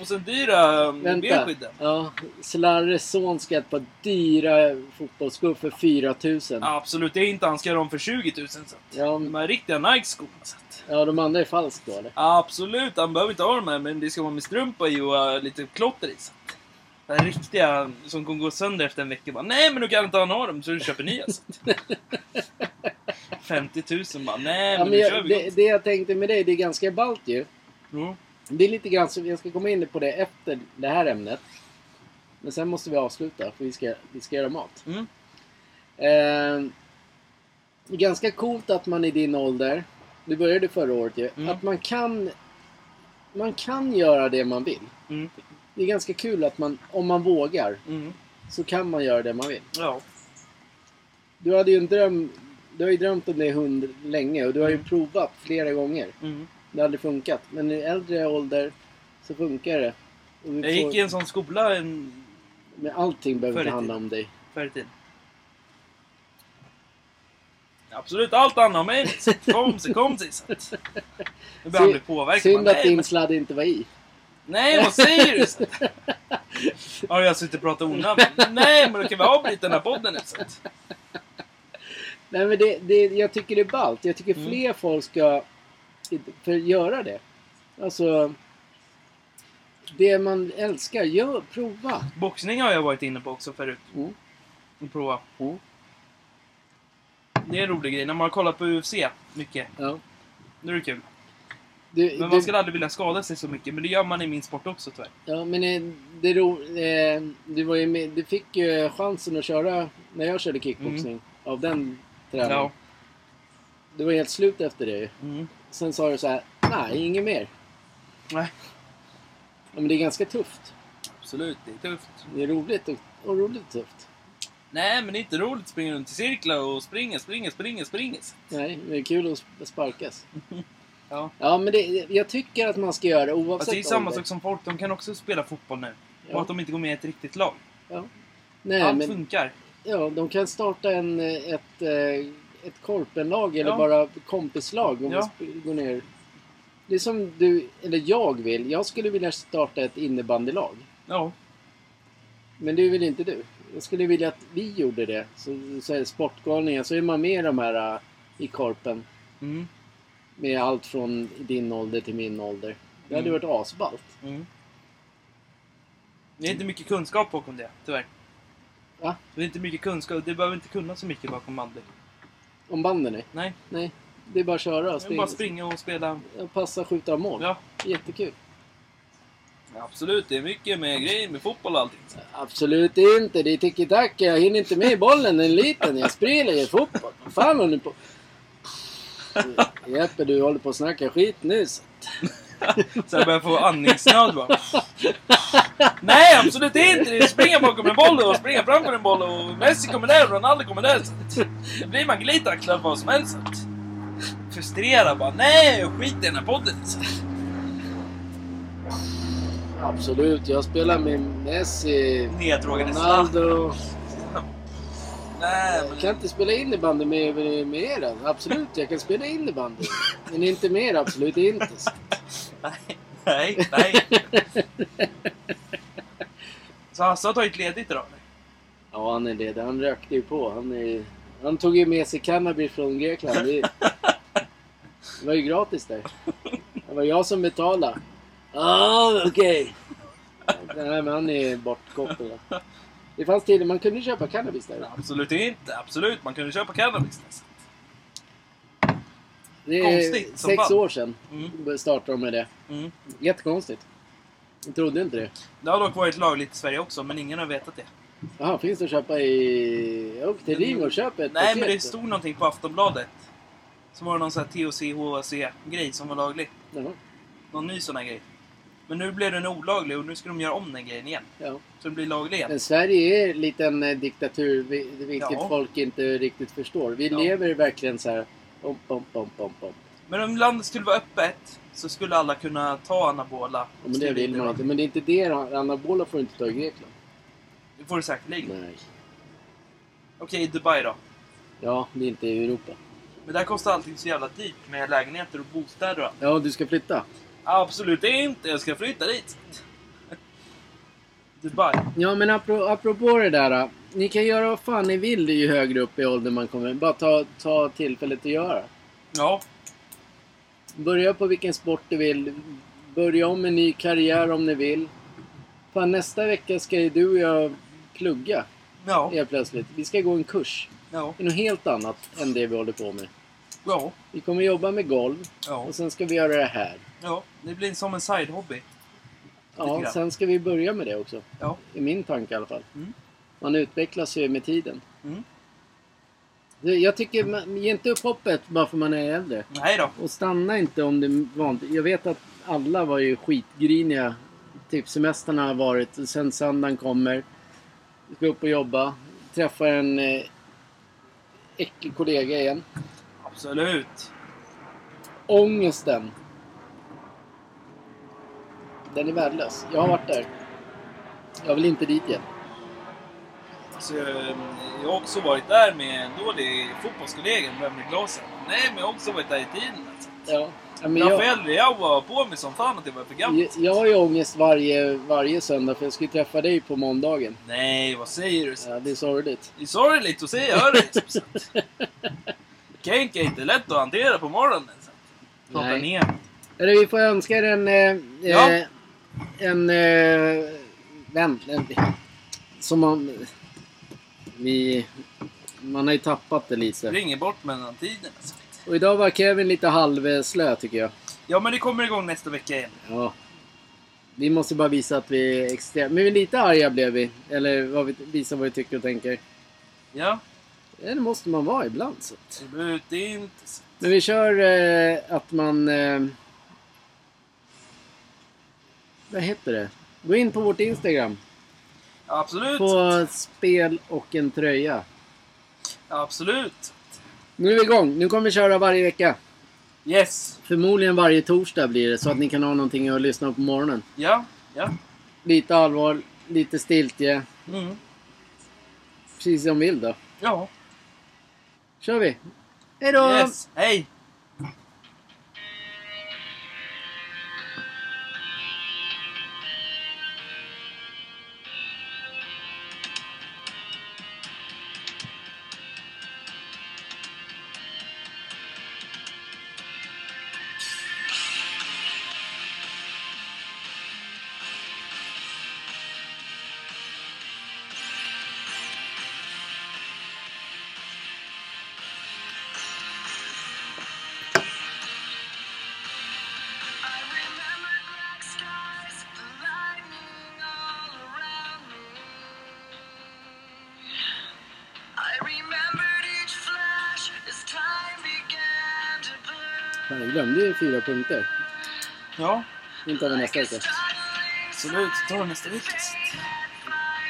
[SPEAKER 2] Och sen dyra um,
[SPEAKER 1] Vänta.
[SPEAKER 2] benskydden.
[SPEAKER 1] Ja, Slarres son ska ha ett par dyra fotbollsskor för 4000. Ja.
[SPEAKER 2] Ja, absolut, det är inte han ska ha dem för 20 000 så.
[SPEAKER 1] Ja,
[SPEAKER 2] De här riktiga Nike-skorna alltså. så.
[SPEAKER 1] ja, de andra är falskt då eller?
[SPEAKER 2] Ja, absolut, han behöver inte ha de här men det ska vara med strumpa i och eh, lite klotter i. Så. De här riktiga som kommer gå sönder efter en vecka bara Nej men då kan inte han ha dem så du köper nya. Så. 50 000 bara Nej
[SPEAKER 1] Ja,
[SPEAKER 2] men
[SPEAKER 1] men
[SPEAKER 2] nu kör
[SPEAKER 1] jag,
[SPEAKER 2] vi
[SPEAKER 1] det,
[SPEAKER 2] gott.
[SPEAKER 1] det jag tänkte med dig, det är ganska ballt ju.
[SPEAKER 2] Jo.
[SPEAKER 1] Det är lite grann så, jag ska komma in på det efter det här ämnet. Men sen måste vi avsluta, för vi ska, vi ska göra mat.
[SPEAKER 2] Mm.
[SPEAKER 1] Eh, ganska coolt att man i din ålder, du började förra året ju,
[SPEAKER 2] Mm.
[SPEAKER 1] att man kan, man kan göra det man vill.
[SPEAKER 2] Mm.
[SPEAKER 1] Det är ganska kul att man, om man vågar,
[SPEAKER 2] Mm.
[SPEAKER 1] så kan man göra det man vill.
[SPEAKER 2] Ja.
[SPEAKER 1] Du hade ju en dröm, du har ju drömt om det hund länge och du har ju
[SPEAKER 2] Mm.
[SPEAKER 1] provat flera gånger.
[SPEAKER 2] Mm.
[SPEAKER 1] Det har aldrig funkat. Men i äldre ålder så funkar det. Och vi
[SPEAKER 2] Jag gick
[SPEAKER 1] får-
[SPEAKER 2] i en sån skola en,
[SPEAKER 1] Men allting behöver
[SPEAKER 2] Förr i
[SPEAKER 1] inte handla om dig.
[SPEAKER 2] förr i tiden. Absolut, allt annat om mig. liksom. Kom sig, kom sig. så att. Nu börjar han bli påverkad.
[SPEAKER 1] Synd
[SPEAKER 2] bara,
[SPEAKER 1] att
[SPEAKER 2] nej,
[SPEAKER 1] din
[SPEAKER 2] men,
[SPEAKER 1] sladd inte var i.
[SPEAKER 2] nej, vad säger du? så att? Har jag suttit och pratat onödigt? Nej, men då kan vi avbryta den här podden nu. så att.
[SPEAKER 1] Nej men det, det, jag tycker det är ballt. Jag tycker
[SPEAKER 2] Mm.
[SPEAKER 1] fler folk ska för göra det. Alltså... Det man älskar, gör, prova.
[SPEAKER 2] Boxning har jag varit inne på också förut.
[SPEAKER 1] Mm.
[SPEAKER 2] Och prova.
[SPEAKER 1] Mm.
[SPEAKER 2] Det är en rolig grej. När man har kollat på UFC mycket,
[SPEAKER 1] Ja.
[SPEAKER 2] då är det kul.
[SPEAKER 1] Du,
[SPEAKER 2] Men
[SPEAKER 1] du,
[SPEAKER 2] man skulle aldrig vilja skada sig så mycket. Men det gör man i min sport också tyvärr.
[SPEAKER 1] ja, men eh, det är ro, eh, du, var ju med, du fick ju chansen att köra när jag körde kickboxning. Av den tränaren.
[SPEAKER 2] Mm. Ja.
[SPEAKER 1] Du var helt slut efter det ju.
[SPEAKER 2] Mm.
[SPEAKER 1] Sen sa du så här, nej, inget mer.
[SPEAKER 2] Nej,
[SPEAKER 1] Ja, men det är ganska tufft.
[SPEAKER 2] absolut. Det är tufft.
[SPEAKER 1] Det är roligt och, och roligt tufft.
[SPEAKER 2] Nej, men det är inte roligt att springa runt i cirklar och springa, springa, springa, springa.
[SPEAKER 1] Nej, det är kul att sp- sparkas.
[SPEAKER 2] Ja.
[SPEAKER 1] Ja, men det, jag tycker att man ska göra det oavsett
[SPEAKER 2] Fast Alltså, det är ju samma
[SPEAKER 1] ålder.
[SPEAKER 2] sak som folk, de kan också spela fotboll nu.
[SPEAKER 1] Ja.
[SPEAKER 2] Och att de inte går med i ett riktigt lag.
[SPEAKER 1] Ja. Nej,
[SPEAKER 2] Allt
[SPEAKER 1] men
[SPEAKER 2] funkar.
[SPEAKER 1] ja, de kan starta en, eh, ett, eh, ett korpenlag eller
[SPEAKER 2] Ja.
[SPEAKER 1] bara kompislag om
[SPEAKER 2] Ja.
[SPEAKER 1] vi sp- går ner. Det är som du, eller jag vill. Jag skulle vilja starta ett innebandylag.
[SPEAKER 2] Ja.
[SPEAKER 1] Men det vill inte du. Jag skulle vilja att vi gjorde det. Så, så är det sportgalningar, så är man med i de här eh, i korpen.
[SPEAKER 2] Mm.
[SPEAKER 1] Med allt från din ålder till min ålder. Det hade
[SPEAKER 2] Mm.
[SPEAKER 1] varit asballt.
[SPEAKER 2] Mm. Det är inte mycket kunskap bakom det, tyvärr.
[SPEAKER 1] Va?
[SPEAKER 2] Det är inte mycket kunskap. Du behöver inte kunna så mycket bakom bandy.
[SPEAKER 1] Om banden är.
[SPEAKER 2] Nej.
[SPEAKER 1] Nej. Det är bara att köra.
[SPEAKER 2] Det är
[SPEAKER 1] Spring,
[SPEAKER 2] bara springa och spela.
[SPEAKER 1] Passa, skjuta och mål.
[SPEAKER 2] Ja.
[SPEAKER 1] Jättekul.
[SPEAKER 2] Absolut, det är mycket med grejer med fotboll och allting.
[SPEAKER 1] Absolut inte. Det är tiki-taka. Jag hinner inte med i bollen. Den är liten. Jag spelar ju fotboll. Vad fan håller ni på... Jeppe, du håller på att snacka skit nu. så.
[SPEAKER 2] Så jag börjar få andningsnöd bara. Nej, absolut inte! Det är Springa bakom en boll och springa framför en boll och Messi kommer där och Ronaldo kommer där. Så att det blir man glidtacklad vad som helst. så att Frustrerad bara. Nej, jag skiter i den här podden. Så att
[SPEAKER 1] Absolut. Jag spelar med Messi,
[SPEAKER 2] Neddragande sladd.
[SPEAKER 1] Ronaldo.
[SPEAKER 2] Nej,
[SPEAKER 1] Jag kan
[SPEAKER 2] men...
[SPEAKER 1] inte spela innebandy med, med er. än. Absolut, jag kan spela innebandy. Men inte med er, absolut inte.
[SPEAKER 2] Nej, nej, nej. Så Hasse har tagit ledigt idag? eller?
[SPEAKER 1] Ja, han är det. Han rökte ju på. Han, är, han tog ju med sig cannabis från Grekland. Det, det var ju gratis där. Det var jag som betalade. Ja, okej. Nej, men han är bortkopplad. Det fanns till man kunde köpa cannabis där.
[SPEAKER 2] Absolut inte. Absolut, man kunde köpa cannabis. nästan.
[SPEAKER 1] Det är
[SPEAKER 2] Konstigt som
[SPEAKER 1] sex
[SPEAKER 2] fan.
[SPEAKER 1] år sedan
[SPEAKER 2] Mm,
[SPEAKER 1] startade de med det.
[SPEAKER 2] mm.
[SPEAKER 1] Jättekonstigt. Jag trodde inte det.
[SPEAKER 2] Det har dock varit lagligt i Sverige också, men ingen har vetat det.
[SPEAKER 1] Jaha, finns det att köpa i... Jag åker till Rim och köper ett
[SPEAKER 2] Mm. Nej,
[SPEAKER 1] paket.
[SPEAKER 2] men det stod någonting på Aftonbladet. Så var det någon sån här THC, HHC-grej som var laglig.
[SPEAKER 1] Jaha.
[SPEAKER 2] Någon ny sån här grej. Men nu blev den olaglig och nu ska de göra om den grejen igen.
[SPEAKER 1] Ja.
[SPEAKER 2] Så den blir laglig igen.
[SPEAKER 1] Men Sverige är en liten eh, diktatur, vi- vilket
[SPEAKER 2] Ja.
[SPEAKER 1] folk inte riktigt förstår. Vi
[SPEAKER 2] Ja.
[SPEAKER 1] lever verkligen så här... Om, om, om, om, om.
[SPEAKER 2] Men om landet skulle vara öppet så skulle alla kunna ta anabola.
[SPEAKER 1] Ja, men det vill man inte. Men det är inte det. Anabola får du inte ta i Grekland.
[SPEAKER 2] Det får du säkerligen.
[SPEAKER 1] Nej.
[SPEAKER 2] Okej, Dubai då.
[SPEAKER 1] Ja, det är inte i Europa.
[SPEAKER 2] Men där kostar allting så jävla dyrt med lägenheter och bostäder och allt.
[SPEAKER 1] Ja, du ska flytta.
[SPEAKER 2] Absolut inte! Jag ska flytta dit! Dubai.
[SPEAKER 1] Ja, men apro- apropå det där. eh, Ni kan göra vad fan ni vill ju högre upp i åldern man kommer. Bara ta, ta tillfället att göra.
[SPEAKER 2] Ja.
[SPEAKER 1] Börja på vilken sport du vill. Börja om en ny karriär om ni vill. Fan, nästa vecka ska ju du och jag plugga
[SPEAKER 2] Ja.
[SPEAKER 1] helt plötsligt. Vi ska gå en kurs.
[SPEAKER 2] Ja.
[SPEAKER 1] Det är något helt annat än det vi håller på med.
[SPEAKER 2] Ja.
[SPEAKER 1] Vi kommer jobba med golv
[SPEAKER 2] Ja.
[SPEAKER 1] och sen ska vi göra det här.
[SPEAKER 2] ja. Det blir som en side-hobby. Lite
[SPEAKER 1] Ja,
[SPEAKER 2] grann.
[SPEAKER 1] sen ska vi börja med det också.
[SPEAKER 2] Ja.
[SPEAKER 1] I min tanke i alla fall.
[SPEAKER 2] Mm.
[SPEAKER 1] Man utvecklas ju med tiden.
[SPEAKER 2] Mm.
[SPEAKER 1] Det- Jag tycker, man, ge inte upp hoppet bara för man är äldre.
[SPEAKER 2] Nej då.
[SPEAKER 1] Och stanna inte om det är vanligt. Jag vet att alla var ju skitgriniga. Typ semestrarna har varit. och Sen söndagen kommer. Ska upp och jobba. Träffar en eh, äcklig kollega igen.
[SPEAKER 2] Absolut.
[SPEAKER 1] Ångesten. Den är värdelös. Jag har varit där. Jag vill inte dit igen.
[SPEAKER 2] Så, eh, jag har också varit där med en dålig fotbollskollega med med glasen. Nej, men jag har också varit där i tiden. Alltså.
[SPEAKER 1] Ja. Men jag,
[SPEAKER 2] Rafael Leao var på mig som fan att det var för gammalt.
[SPEAKER 1] jag, jag har ju ångest varje, varje söndag för jag ska ju träffa dig på måndagen.
[SPEAKER 2] Nej, vad säger du?
[SPEAKER 1] Ja, det är sorgligt.
[SPEAKER 2] Det är sorgligt att se öret. Kenk är inte lätt att hantera på morgonen. så att Prata
[SPEAKER 1] Nej.
[SPEAKER 2] ner mig.
[SPEAKER 1] Eller vi får önska er en... Eh,
[SPEAKER 2] Ja.
[SPEAKER 1] eh, En... Eh, vän. En, som man... Vi... Man har ju tappat det lite.
[SPEAKER 2] Ringer bort mellan tiden. Alltså.
[SPEAKER 1] Och idag var Kevin lite halvslö tycker jag.
[SPEAKER 2] Ja, men det kommer igång nästa vecka igen.
[SPEAKER 1] Ja. Vi måste bara visa att vi är extremt... Men lite arga blev vi. Eller vad vi, visa vad vi tycker och tänker.
[SPEAKER 2] Ja,
[SPEAKER 1] Det måste man vara ibland. Så. att-
[SPEAKER 2] absolut det är inte så.
[SPEAKER 1] Men vi kör eh, att man... Eh, vad heter det? Gå in på vårt Instagram.
[SPEAKER 2] Absolut.
[SPEAKER 1] På spel och en tröja.
[SPEAKER 2] Absolut.
[SPEAKER 1] Nu är vi igång. Nu kommer vi köra varje vecka.
[SPEAKER 2] Yes.
[SPEAKER 1] Förmodligen varje torsdag blir det. Så att ni kan ha någonting att lyssna på morgonen.
[SPEAKER 2] Ja, ja.
[SPEAKER 1] Lite allvar, lite stiltje.
[SPEAKER 2] Mm.
[SPEAKER 1] Precis som vill då.
[SPEAKER 2] Ja.
[SPEAKER 1] kör vi. Hej då!
[SPEAKER 2] Yes. Hej.
[SPEAKER 3] I remember black skies, the lightning all around me. I remembered each flash as time began to burn.
[SPEAKER 1] Fan, jag glömde ju fyra punkter.
[SPEAKER 2] Ja,
[SPEAKER 1] Inte av nästa vecka.
[SPEAKER 2] absolut. Ta det nästa vecka.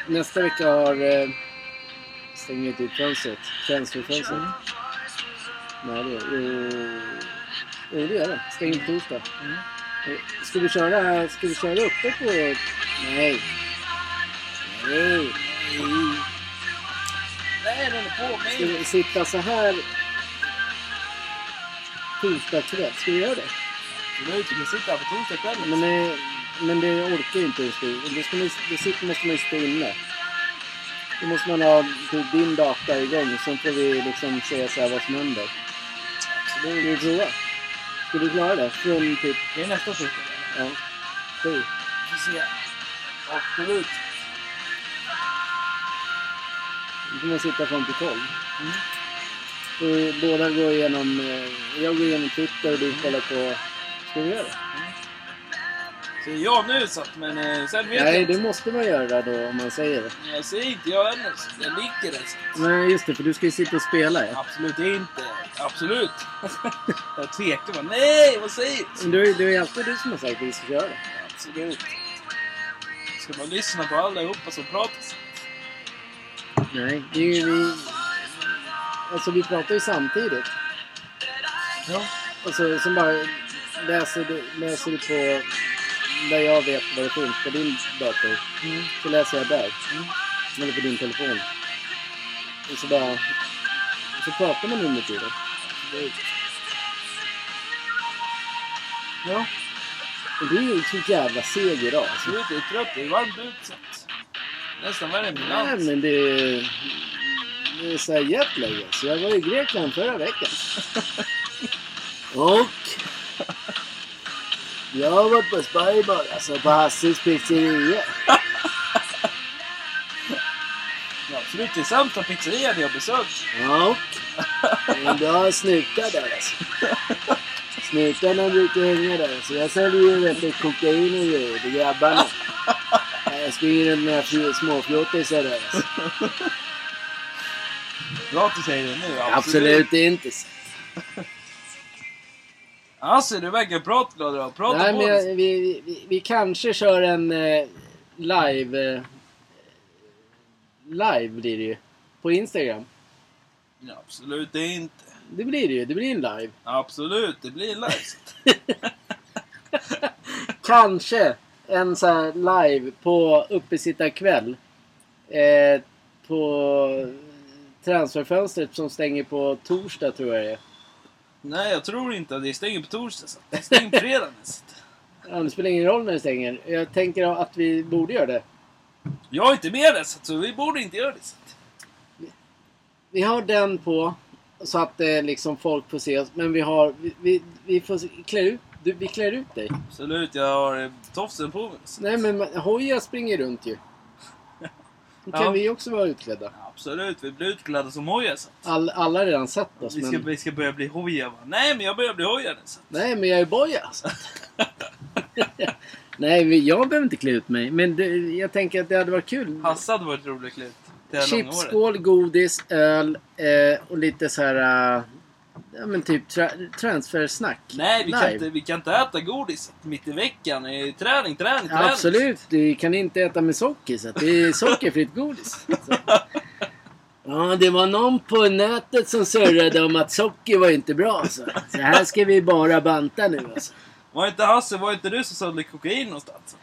[SPEAKER 1] Nästa vecka har... Eh, stänger inte ut fönstret. Transferfönstret. Nej, det... Jo, jo det gör det. Stänger på torsdag.
[SPEAKER 2] Mm.
[SPEAKER 1] Eh, Ska vi köra, ska vi köra uppe på... Nej. Nej.
[SPEAKER 2] Nej, den är på
[SPEAKER 1] Ska
[SPEAKER 2] mig.
[SPEAKER 1] vi sitta så här... Torsdag kväll. Ska vi göra det?
[SPEAKER 2] Absolut, vi kan sitta här på torsdag kväll.
[SPEAKER 1] Men, eh, men det orkar ju inte just nu. Då ska man, då sitter, måste man ju stå inne. Då måste man ha typ din data igång. Sen får vi liksom se så här vad som händer. Ska vi prova? Ska du klara det? Från typ...
[SPEAKER 2] Det är nästa torsdag.
[SPEAKER 1] Ja. Sju.
[SPEAKER 2] Vi får se. Absolut.
[SPEAKER 1] Då får man sitta fram till tolv.
[SPEAKER 2] Mm.
[SPEAKER 1] Och båda går igenom... eh, Jag går igenom Twitter och du kollar på... Ska vi göra det?
[SPEAKER 2] Så jag nu så att, men eh, sen vet
[SPEAKER 1] Nej,
[SPEAKER 2] jag
[SPEAKER 1] det
[SPEAKER 2] inte.
[SPEAKER 1] måste man göra då om man säger det.
[SPEAKER 2] Jag säger inte jag ännu. så Jag ligger där. så att-
[SPEAKER 1] Nej, just det. För du ska ju sitta och spela ja.
[SPEAKER 2] Absolut inte. Absolut. jag tvekar bara. Nej, vad säger du?
[SPEAKER 1] Men du, du är alltid du som har sagt att vi ska göra det.
[SPEAKER 2] Så går det ut. Ska man lyssna på allihopa som pratar?
[SPEAKER 1] Nej, det är ju vi... Alltså vi pratar ju samtidigt.
[SPEAKER 2] Ja.
[SPEAKER 1] Alltså som bara läser du, läser du på... Där jag vet vad det finns på din dator.
[SPEAKER 2] Mm.
[SPEAKER 1] Så läser jag där.
[SPEAKER 2] Mm.
[SPEAKER 1] Eller på din telefon. Och så bara... Så pratar man under tiden. Det,
[SPEAKER 2] Ja.
[SPEAKER 1] och det är ju så jävla seg idag.
[SPEAKER 2] Så
[SPEAKER 1] Alltså.
[SPEAKER 2] ut, det är trött, det är varmt utsatt. Nästan värre än
[SPEAKER 1] Nej
[SPEAKER 2] Milan.
[SPEAKER 1] men det är... Det är såhär jetlag alltså. Jag var i Grekland förra veckan. Och... Jag var på Spybar, alltså på Hasses pizzeria.
[SPEAKER 2] Ja, absolut, det är sant att pizzeria hade jag besökt.
[SPEAKER 1] Och... Men du har snutar där alltså. Snutarna brukar hänga där. Så jag säljer ju vet du, kokain och grejer till grabbarna. Ja, Jag eh, springer runt med några småfjortisar där alltså.
[SPEAKER 2] Bra att du säger det nu.
[SPEAKER 1] Absolut inte. så.
[SPEAKER 2] Alltså, du verkar prata glad idag. Prata
[SPEAKER 1] Nej,
[SPEAKER 2] på.
[SPEAKER 1] men jag, vi, vi- vi, vi kanske kör en eh, live... Eh, live blir det ju. På Instagram.
[SPEAKER 2] Ja, absolut, det är inte.
[SPEAKER 1] Det blir det ju. Det blir en live.
[SPEAKER 2] Absolut, det blir live.
[SPEAKER 1] Kanske en så här live på uppesittarkväll. Eh, på transferfönstret som stänger på torsdag tror jag det är.
[SPEAKER 2] Nej, jag tror inte att det stänger på torsdag. Så. Det stänger på fredag nästan.
[SPEAKER 1] Ja, Det spelar ingen roll när det stänger. Jag tänker att vi borde göra det.
[SPEAKER 2] Jag är inte med det, så att- så vi borde inte göra det. Så. att-
[SPEAKER 1] Vi har den på så att eh, liksom folk får se oss. Men vi har... Vi, vi, vi får se- klä ut... Du, vi klär ut dig.
[SPEAKER 2] Absolut, jag har eh, tofsen på mig. så att-
[SPEAKER 1] Nej men man- hojar springer runt ju. Då kan
[SPEAKER 2] Ja.
[SPEAKER 1] vi också vara utklädda.
[SPEAKER 2] Absolut, vi blir utklädda som hojar. Så. att-
[SPEAKER 1] All, alla har redan sett oss
[SPEAKER 2] Vi ska,
[SPEAKER 1] men...
[SPEAKER 2] vi ska börja bli hojar. va? Nej, men jag börjar bli hojar nu. Så. att-
[SPEAKER 1] Nej men jag är boja alltså. Nej men jag behöver inte klä ut mig. Men det, jag tänker att det hade varit kul.
[SPEAKER 2] Hasse hade varit roligt klätt. Det här långa
[SPEAKER 1] Chips,
[SPEAKER 2] året.
[SPEAKER 1] skål, godis, öl eh, och lite så här... eh, ja men typ tra- transfersnack.
[SPEAKER 2] Nej, vi kan,
[SPEAKER 1] Live.
[SPEAKER 2] inte, vi kan inte äta godis mitt i veckan. Eh, Träning, träning, träning.
[SPEAKER 1] Absolut, du kan inte äta med socker så att det är sockerfritt godis. Så. Ja, det var någon på nätet som surrade om att socker var inte bra. Så, så här ska vi bara banta nu alltså.
[SPEAKER 2] Var inte Hasse, var inte du som sålde kokain någonstans?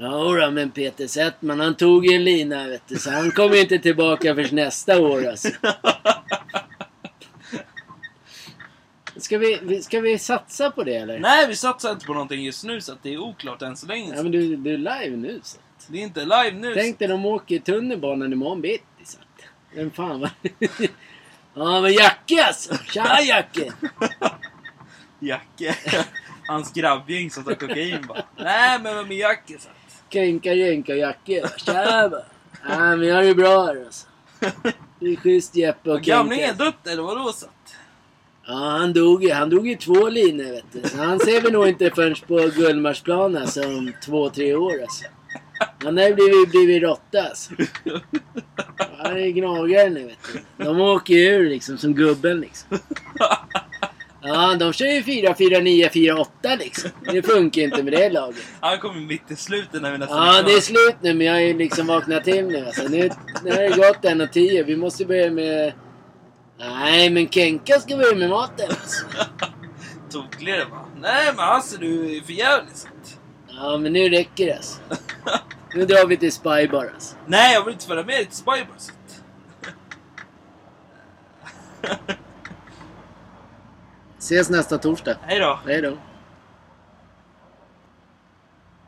[SPEAKER 1] Jodå, men Peter Settman han tog ju en lina vet du, så han kommer inte tillbaka förrän nästa år alltså. Ska vi, vi- ska vi satsa på det eller?
[SPEAKER 2] Nej, vi satsar inte på någonting just nu så att det är oklart än så länge.
[SPEAKER 1] Ja,
[SPEAKER 2] Så.
[SPEAKER 1] men du, du är live nu så.
[SPEAKER 2] Det är inte live nu. så-
[SPEAKER 1] Tänk dig de åker i tunnelbanan imorgon bitti. så att- Vem fan va? Ja men Jacke alltså! Tja Jacke!
[SPEAKER 2] Jacke. Hans grabbgäng som tar kokain bara. Nej, men vem är Jacke? Så. att-
[SPEAKER 1] Kränka jänka Jacke. Tja va! Ja men jag är bra här alltså. Det är schysst Jeppe
[SPEAKER 2] Har
[SPEAKER 1] och Kränka.
[SPEAKER 2] gamlingen dött eller vadå? Så. att-
[SPEAKER 1] Ja han dog ju. Han dog i två linor vet du. Så han ser vi nog inte förrän på Gullmarsplan alltså om två, tre år alltså. Han har ju blivit, blivit råtta alltså. Han är gnagare nu vet du. De åker ju ur liksom som gubben liksom. Ja, de kör ju 4-4-9-4-8 liksom. Det funkar ju inte med det laget.
[SPEAKER 2] Han kommer mitt i slutet när vi nästan
[SPEAKER 1] Ja, det är
[SPEAKER 2] klara.
[SPEAKER 1] slut nu men jag har ju liksom vaknat till nu alltså. Nu, nu har det gått en och tio. Vi måste börja med... Nej, men Kenka ska börja med maten alltså.
[SPEAKER 2] Tokligare va? Nej, men Hasse du är för jävlig. Så. att-
[SPEAKER 1] Ja, men nu räcker det alltså. Nu drar vi till Spybar alltså.
[SPEAKER 2] Nej, jag vill inte följa med dig till Spybar. Så. att-
[SPEAKER 1] Ses nästa torsdag.
[SPEAKER 2] Hej då.
[SPEAKER 1] Hej då.